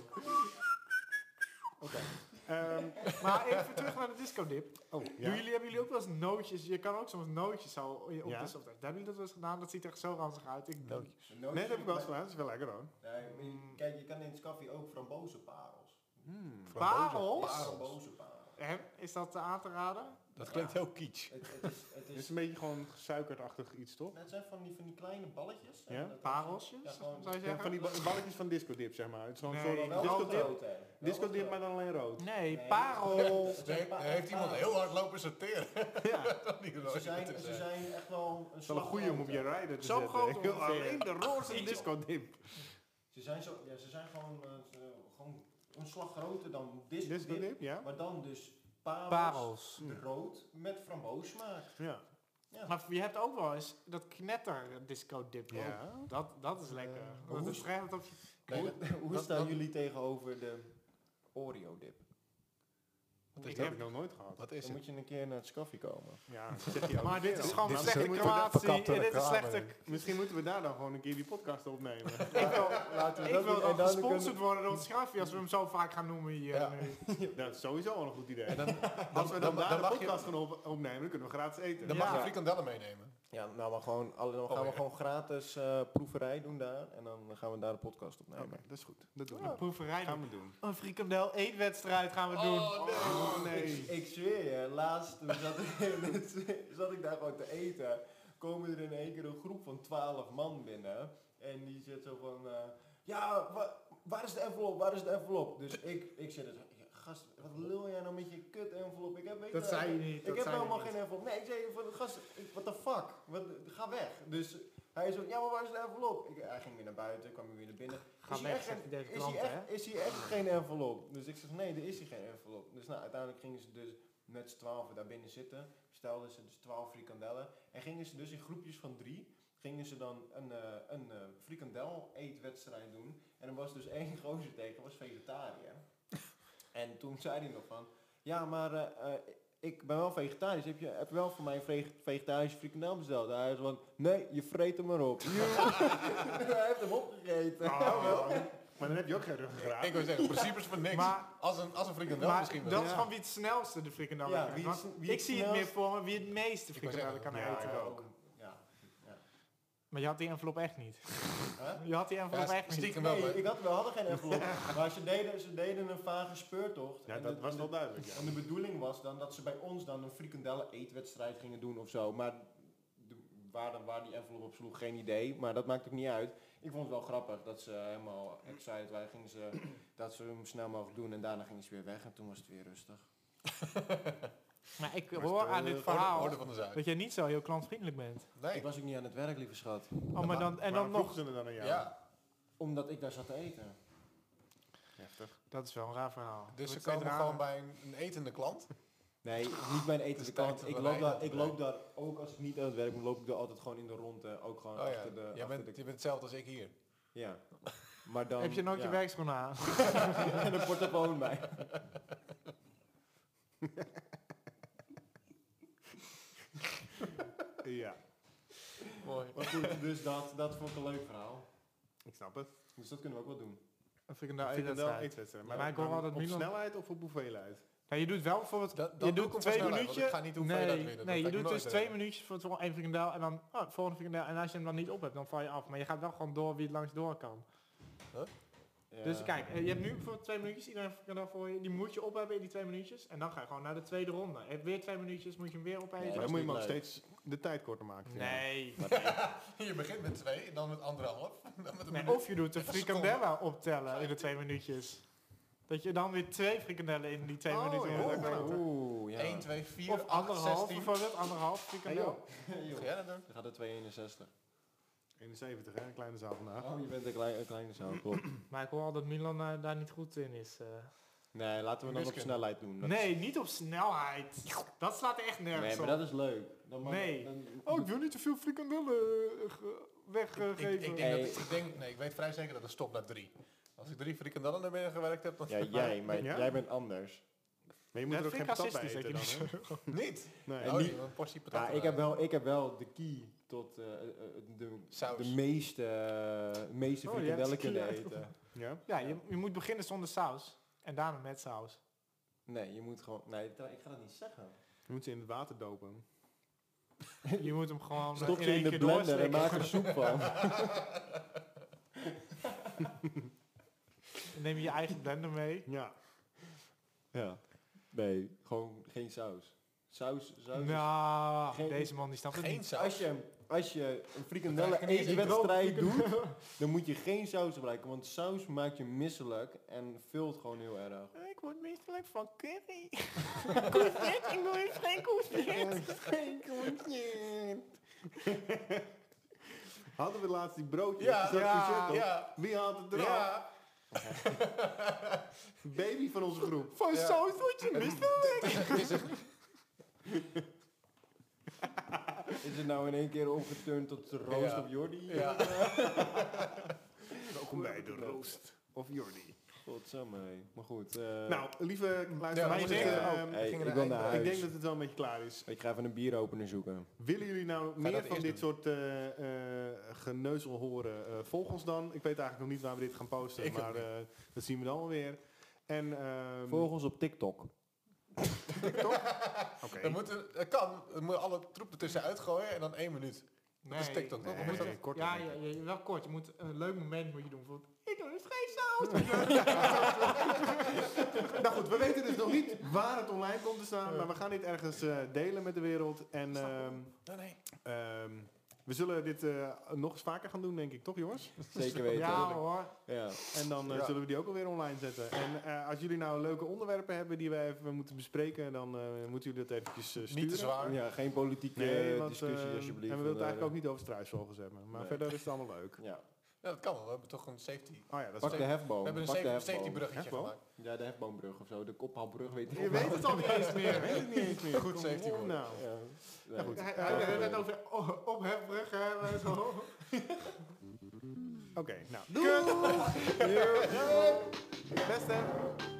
A: Oké. Ehm,
D: Maar even terug naar de disco-dip.
A: oh,
D: Doen Jullie, hebben jullie ook wel eens nootjes? Je kan ook soms nootjes zo op
A: Ja.
D: de softijs. Hebben jullie dat wel eens gedaan? Dat ziet er echt zo ranzig uit. Ik,
C: Nootjes.
B: Een nootje
A: Nee, dat heb ik wel eens
B: met-
A: gedaan. Dat is wel lekker hoor.
B: Nee, maar je- Kijk, je kan in het koffie ook frambozenparels.
A: Hmm.
D: Parels?
B: Frambozenparels.
D: Hè? Is dat eh, aan te raden?
C: Dat klinkt heel kitsch.
B: Het, het is, het
A: Het is
B: is,
A: een beetje gewoon suikerachtig iets, toch?
B: het zijn van die, van die kleine balletjes.
A: Ja,
B: En dat-
D: Parelsjes,
B: Ja, gewoon-
D: zou je
A: Ja,
D: zeggen?
A: van die ba- balletjes van disco dip, zeg maar. Het is gewoon
D: Nee.
A: een
B: Maar
A: soort
B: wel
A: disco dip.
B: rood, hè. Wel
A: Disco dip,
B: rood.
A: maar dan alleen rood. Hmm.
D: Nee,
B: Nee.
D: parel.
B: Het zijn
C: Heeft,
B: pa-
C: heeft iemand
B: parels.
C: heel hard lopen sorteren?
A: Ja.
C: Dat niet
B: Ze
C: leuk
B: zijn,
C: is,
B: ze
C: hè.
B: zijn echt wel een
A: Het is wel een goeie om op je rijden te
D: Zo
A: zetten.
D: groot ongeveer.
A: Alleen de roze
D: Iets op.
A: disco dip.
B: Ze zijn, zo, ja, ze zijn gewoon, eh, ze- gewoon een slag groter dan disco
A: Disco
B: dip,
A: dip, ja.
B: Maar dan dus parels,
D: Parels.
B: rood met framboosmaak.
A: Ja.
D: Maar je hebt ook wel eens dat knetter disco dip.
A: Ja.
D: Dat, dat is lekker. dat
B: hoe
D: is
B: is-
D: echt wat op je...
C: Nee,
B: hoe hoe
C: dat-
B: staan
C: dat-
B: jullie tegenover de Oreo dip?
C: is
A: Dat
C: dat?
A: heb ik nog nooit gehad.
C: Wat is
B: Dan
C: het?
B: moet je een keer naar het scoffie komen.
A: Ja, dat zegt hij ook.
D: Maar dit is gewoon
C: Dit is
D: slechte
C: een
D: creatie.
C: verkapte
D: Dit is
C: reclame,
D: slechte...
C: dit.
A: Misschien moeten we daar dan gewoon een keer die podcast opnemen.
D: Ik wil,
B: Laten
D: ik wil
B: doen.
D: dan
B: En dan
D: gesponsord
B: kunnen-
D: worden door het Schaffie als we hem zo vaak gaan noemen hier.
C: Ja.
D: nu.
A: dat is sowieso al een goed idee.
C: En dan, dan,
A: Als we dan,
C: dan- dan
A: daar de
C: mag je,
A: podcast gaan op- opnemen, dan kunnen we gratis eten.
C: dan
D: Ja.
C: mag je frikandellen meenemen.
B: Ja, nou, maar gewoon, alle- dan
C: Oh,
B: gaan we
C: ja.
B: gewoon gratis eh, proeverij doen daar. En dan gaan we daar de podcast opnemen.
A: Oké, dat is goed. Dat doen
D: Een
A: we.
D: proeverij.
A: Gaan we doen.
D: Een frikandel eetwedstrijd gaan we doen.
A: Oh
B: Ik, ik zweer je, laatst toen zat, ik- zat ik daar gewoon te eten. Komen er in één keer een groep van twaalf man binnen. En die zit zo van, eh, ja, wa- waar is de envelop, waar is de envelop? Dus ik, ik zit er zo, "Ja, gast, wat lul jij nou met je kut envelop? Ik heb, weet
D: Dat
B: je-
D: zei je niet.
B: Ik
D: dat
B: heb
D: zei je
B: helemaal
D: niet.
B: geen envelop. Nee, ik zei van, gast, ik- what the fuck? Wat, ga weg. Dus hij zo, ja, maar waar is de envelop? Ik, hij ging weer naar buiten, kwam weer naar binnen.
D: Ga
B: is hij
D: weg,
B: echt
D: zegt
B: geen-
D: deze
B: is,
D: klant,
B: hij
D: hè?
B: echt, is hij echt geen envelop? Dus ik zeg, nee, er is hier geen envelop. Dus nou, uiteindelijk gingen ze dus met z'n twaalf daar binnen zitten. Stelden ze dus twaalf frikandellen. En gingen ze dus in groepjes van drie. gingen ze dan een, eh, een eh, frikandel-eetwedstrijd doen. En er was dus één gozer tegen, was vegetariër. en toen zei hij nog van, ja, maar eh, eh, ik ben wel vegetarisch. Heb je, heb je wel voor mij een vege- vegetarische frikandel besteld? Hij was van, nee, je vreet hem maar op. Hij heeft hem opgegeten.
A: Maar dan heb je ook geen ruggengraat.
E: Ik wil zeggen, principes van niks.
D: Maar-
E: als een, als een frikandel
D: maar
E: misschien wel.
D: dat is
B: Ja.
D: gewoon wie het snelste de frikandel
B: Ja, Nou,
D: kan
B: wie
D: eten.
B: het
D: Want
B: sn- wie
D: Ik
B: het
D: zie het meer
B: snelst-
D: voor me, wie het meeste
E: wou
D: frikandellen kan
E: zeggen,
B: ja,
D: eten.
B: ik ook. Ja.
D: Maar je had die envelop echt niet.
B: Huh?
D: Je had die envelop
E: Ja,
D: echt niet.
E: stiekem wel.
B: Nee,
E: maar-
B: ik had, we hadden geen envelop. maar ze deden, ze deden een vage speurtocht.
A: Ja,
B: En
A: dat
B: de-
A: was
B: en
A: wel
B: de-
A: duidelijk. Ja.
B: En de bedoeling was dan dat ze bij ons dan een frikandellen eetwedstrijd gingen doen of zo. Maar de- waar, de- waar die envelop op sloeg, geen idee. Maar dat maakt ook niet uit. Ik vond het wel grappig dat ze helemaal excited waren. Gingen ze, dat ze hem snel mogelijk doen en daarna gingen ze weer weg. En toen was het weer rustig.
D: Maar eh, ik hoor aan dit
E: Orde-
D: verhaal
E: Orde van de Zuid.
D: dat jij niet zo heel klantvriendelijk bent.
E: Nee.
B: Ik was ook niet aan het werk, lieve schat.
D: Oh, maar dan, en dan
A: Waarom
D: nog,
A: vroegen ze er dan aan jou?
E: Ja.
B: Omdat ik daar zat te eten.
A: Heftig.
D: dat is wel een raar verhaal.
E: Dus ze
D: Wordt
E: komen
D: steeds
E: gewoon
D: raar.
E: bij een, een etende klant.
B: Nee, niet mijn eten.
E: Dus
B: de
E: tijd
B: kant.
E: te
B: Ik loop,
E: bereiden
B: daar,
E: te
B: ik loop daar ook als ik niet aan het werk ben, loop ik daar altijd gewoon in de ronde. Ook gewoon
E: Oh ja,
B: achter de.
E: jij
B: achter
E: bent,
B: de-
E: je bent hetzelfde als ik hier.
B: ja. Maar dan,
D: Heb je nooit
B: ja.
D: je werkschoenen aan?
B: en een portofoon bij.
A: Ja,
E: Mooi.
B: Maar goed, dus dat, dat vond ik een leuk verhaal.
A: ik snap het.
B: Dus dat kunnen we ook wel doen.
D: Een frikandel
A: Frikandel
D: eetwedstrijd.
A: eetwedstrijd.
D: Maar Nou, ik hoor wel dat
A: op
D: Milan-
A: snelheid of op hoeveelheid?
D: Nou, je doet wel bijvoorbeeld...
E: Dat,
D: je doet twee minuutjes...
E: Ik ga niet hoeveel dat
D: Nee,
E: winnen.
D: nee je
E: dat
D: doet
E: ga ik
D: dus
E: nooit
D: twee
E: winnen.
D: minuutjes voor het voor één frikandel en dan oh, volgende frikandel. En als je hem dan niet op hebt, dan val je af. Maar je gaat wel gewoon door wie het langs door kan. Dus kijk, eh, je hebt nu bijvoorbeeld twee minuutjes, iedereen heeft een frikandel voor je. Die moet je op hebben in die twee minuutjes. En dan ga je gewoon naar de tweede ronde. Heb weer twee minuutjes, moet je hem weer
B: Nee,
A: Maar
D: opeten.
B: dat
A: dan
B: is
A: moet je
B: niet
A: maar ook
B: leuk.
A: steeds de tijd korter maken. vind ik.
D: Nee.
E: Je begint met twee, en dan met anderhalf. Dan met een
D: Nee,
E: minuut.
D: of je doet de frikandellen optellen in de twee minuutjes. Dat je dan weer twee frikandellen in die twee
A: Oh,
D: minuten
A: ja,
D: moet
A: dat
D: opeten.
A: kan
B: Oeh, ja.
E: 1, 2, 4,
D: Of
E: 8,
D: anderhalf
E: 16.
D: bijvoorbeeld, anderhalf
B: Hey,
D: frikandel.
B: joh. Hey, joh.
E: Ga jij dat doen?
B: Dan gaat het 261.
A: 71, hè? Een kleine zaal vandaag.
B: Oh, je bent een, klein, een kleine zaal, klopt.
D: Maar ik hoor al dat Milan eh, daar niet goed in is. eh.
B: Nee, laten we dan op
E: Wiskunde.
B: snelheid doen. Dat
D: Nee, niet op snelheid. Dat slaat echt
B: is-
D: nergens
B: Nee, maar
D: op.
B: dat is leuk. Dan mag-
D: Nee.
B: dan-
D: Oh, ik wil niet te veel frikandellen eh, ge-
E: Ik, ik,
D: weggeven.
E: ik denk dat, ik, denk, nee, ik weet vrij zeker dat het stopt na drie. Als ik drie frikandellen naar binnen gewerkt heb, dan
B: ja, jij, maar
A: Ja?
B: jij bent anders.
A: Maar je moet
D: Dat
A: er ook
D: vind ik
A: geen patat bij
D: racistisch,
A: eten dan,
D: dat je
A: hè?
E: niet.
A: Nee.
B: En
E: Oh,
B: die-
E: een portie patat.
B: Ja, ik, heb wel, ik heb wel de key tot eh, eh, eh, de,
E: Saus.
B: de meeste, eh, meeste
D: Oh, je hebt
B: frikandellen
D: de key
B: kunnen
D: uit.
B: eten.
A: Ja?
D: Ja, je, je moet beginnen zonder saus. En daarna met saus.
B: Nee, je moet gewoon... Nee, tra- ik ga dat niet zeggen.
A: Je moet ze in het water dopen.
D: Je moet hem gewoon eh,
B: Stop
D: in
B: ze
D: één
B: in de
D: keer
B: blender en
D: doorslikken.
B: maak er soep van.
D: Dan Neem je je eigen blender mee.
A: Ja.
B: Ja. Nee, gewoon geen saus. Saus, saus.
D: Nou,
B: Geen-
D: deze man die snapt het
E: Geen
D: niet.
E: saus.
B: Als je, als je een
E: Dan
B: frikandellen
E: krijg je ineens
B: eetwedstrijd doet, dan moet je geen saus gebruiken. Want saus maakt je misselijk en vult gewoon heel erg.
D: Ik word meestal van curry. koes dit, ik wil eens geen koes dit.
A: Hadden we laatst die broodjes?
E: Ja,
A: Is dat
D: ja,
A: courgette op?
E: Ja,
A: Wie had het eraf?
E: ja.
A: Baby van onze groep.
D: Van
E: Ja.
D: saus word je misselijk.
B: Is het nou in één keer omgeturnd tot roos
E: Ja.
B: op Jordi?
E: Ja.
A: Welkom bij de roost of Jordi.
B: Godsamme, hé. Maar goed. eh,
A: Nou, lieve
E: Ja,
A: luisteraars,
E: we
A: eh,
E: moeten-
A: ehm,
B: hey,
E: gingen
B: ik
E: naar
B: wil naar
E: eind.
B: huis.
A: ik denk dat het wel een beetje klaar is.
B: Ik ga even een bieropener zoeken.
A: Willen jullie nou
E: dat
A: meer van
E: eerst
A: dit soort eh, eh, geneuzel horen? eh volg ons dan. Ik weet eigenlijk nog niet waar we dit gaan posten,
E: Ik ook
A: maar eh, dat zien we dan wel weer. En ehm,
B: Volg ons op TikTok.
A: oké.
E: Dan moeten, dat kan. Dan moet je alle troep ertussen uitgooien en dan één minuut. Dat is TikTok, toch?
A: nee,
E: Of is dat-
A: nee, korter,
D: ja,
A: denk
D: ja,
A: ik.
D: ja, wel kort. Je moet een leuk moment moet je doen. Bijvoorbeeld, ik doe dus geen saus.
A: Nou goed, we weten dus nog niet waar het online komt te staan, maar we gaan dit ergens eh, delen met de wereld. En ehm,
E: Nee, nee.
A: ehm, we zullen dit eh, nog eens vaker gaan doen, denk ik, toch jongens?
B: Zeker weten.
D: ja hoor.
B: Ja.
A: En dan eh,
E: Ja.
A: zullen we die ook alweer online zetten. En eh, als jullie nou leuke onderwerpen hebben die wij even moeten bespreken, dan eh, moeten jullie dat eventjes eh, sturen.
E: Niet te zwaar.
B: Dus Ja, geen politieke
A: Nee,
B: eh,
A: want,
B: discussie
A: eh,
B: alsjeblieft.
A: En we willen het
B: vandaar.
A: eigenlijk ook niet over struisvogels hebben. Maar
B: Nee.
A: verder is het allemaal leuk.
B: Ja.
C: Ja, dat kan wel. We hebben toch een safety.
A: Oh ja, dat is
B: Pak de hefboom.
C: We hebben een
B: pak de
C: safety,
B: hefboom.
C: safety bruggetje
A: Hefboom?
C: gemaakt.
B: Ja, de hefboombrug of zo. De kophalbrug weet ik
A: Je weet het al niet eens meer. Je weet het niet eens meer.
C: Goed
A: Kom
C: safety
A: op
C: woord.
A: Nou.
B: Ja, nee.
A: Ja, goed.
D: Hij hij had het net over o- ophefbruggen en zo.
A: Oké, nou. Doei! Beste.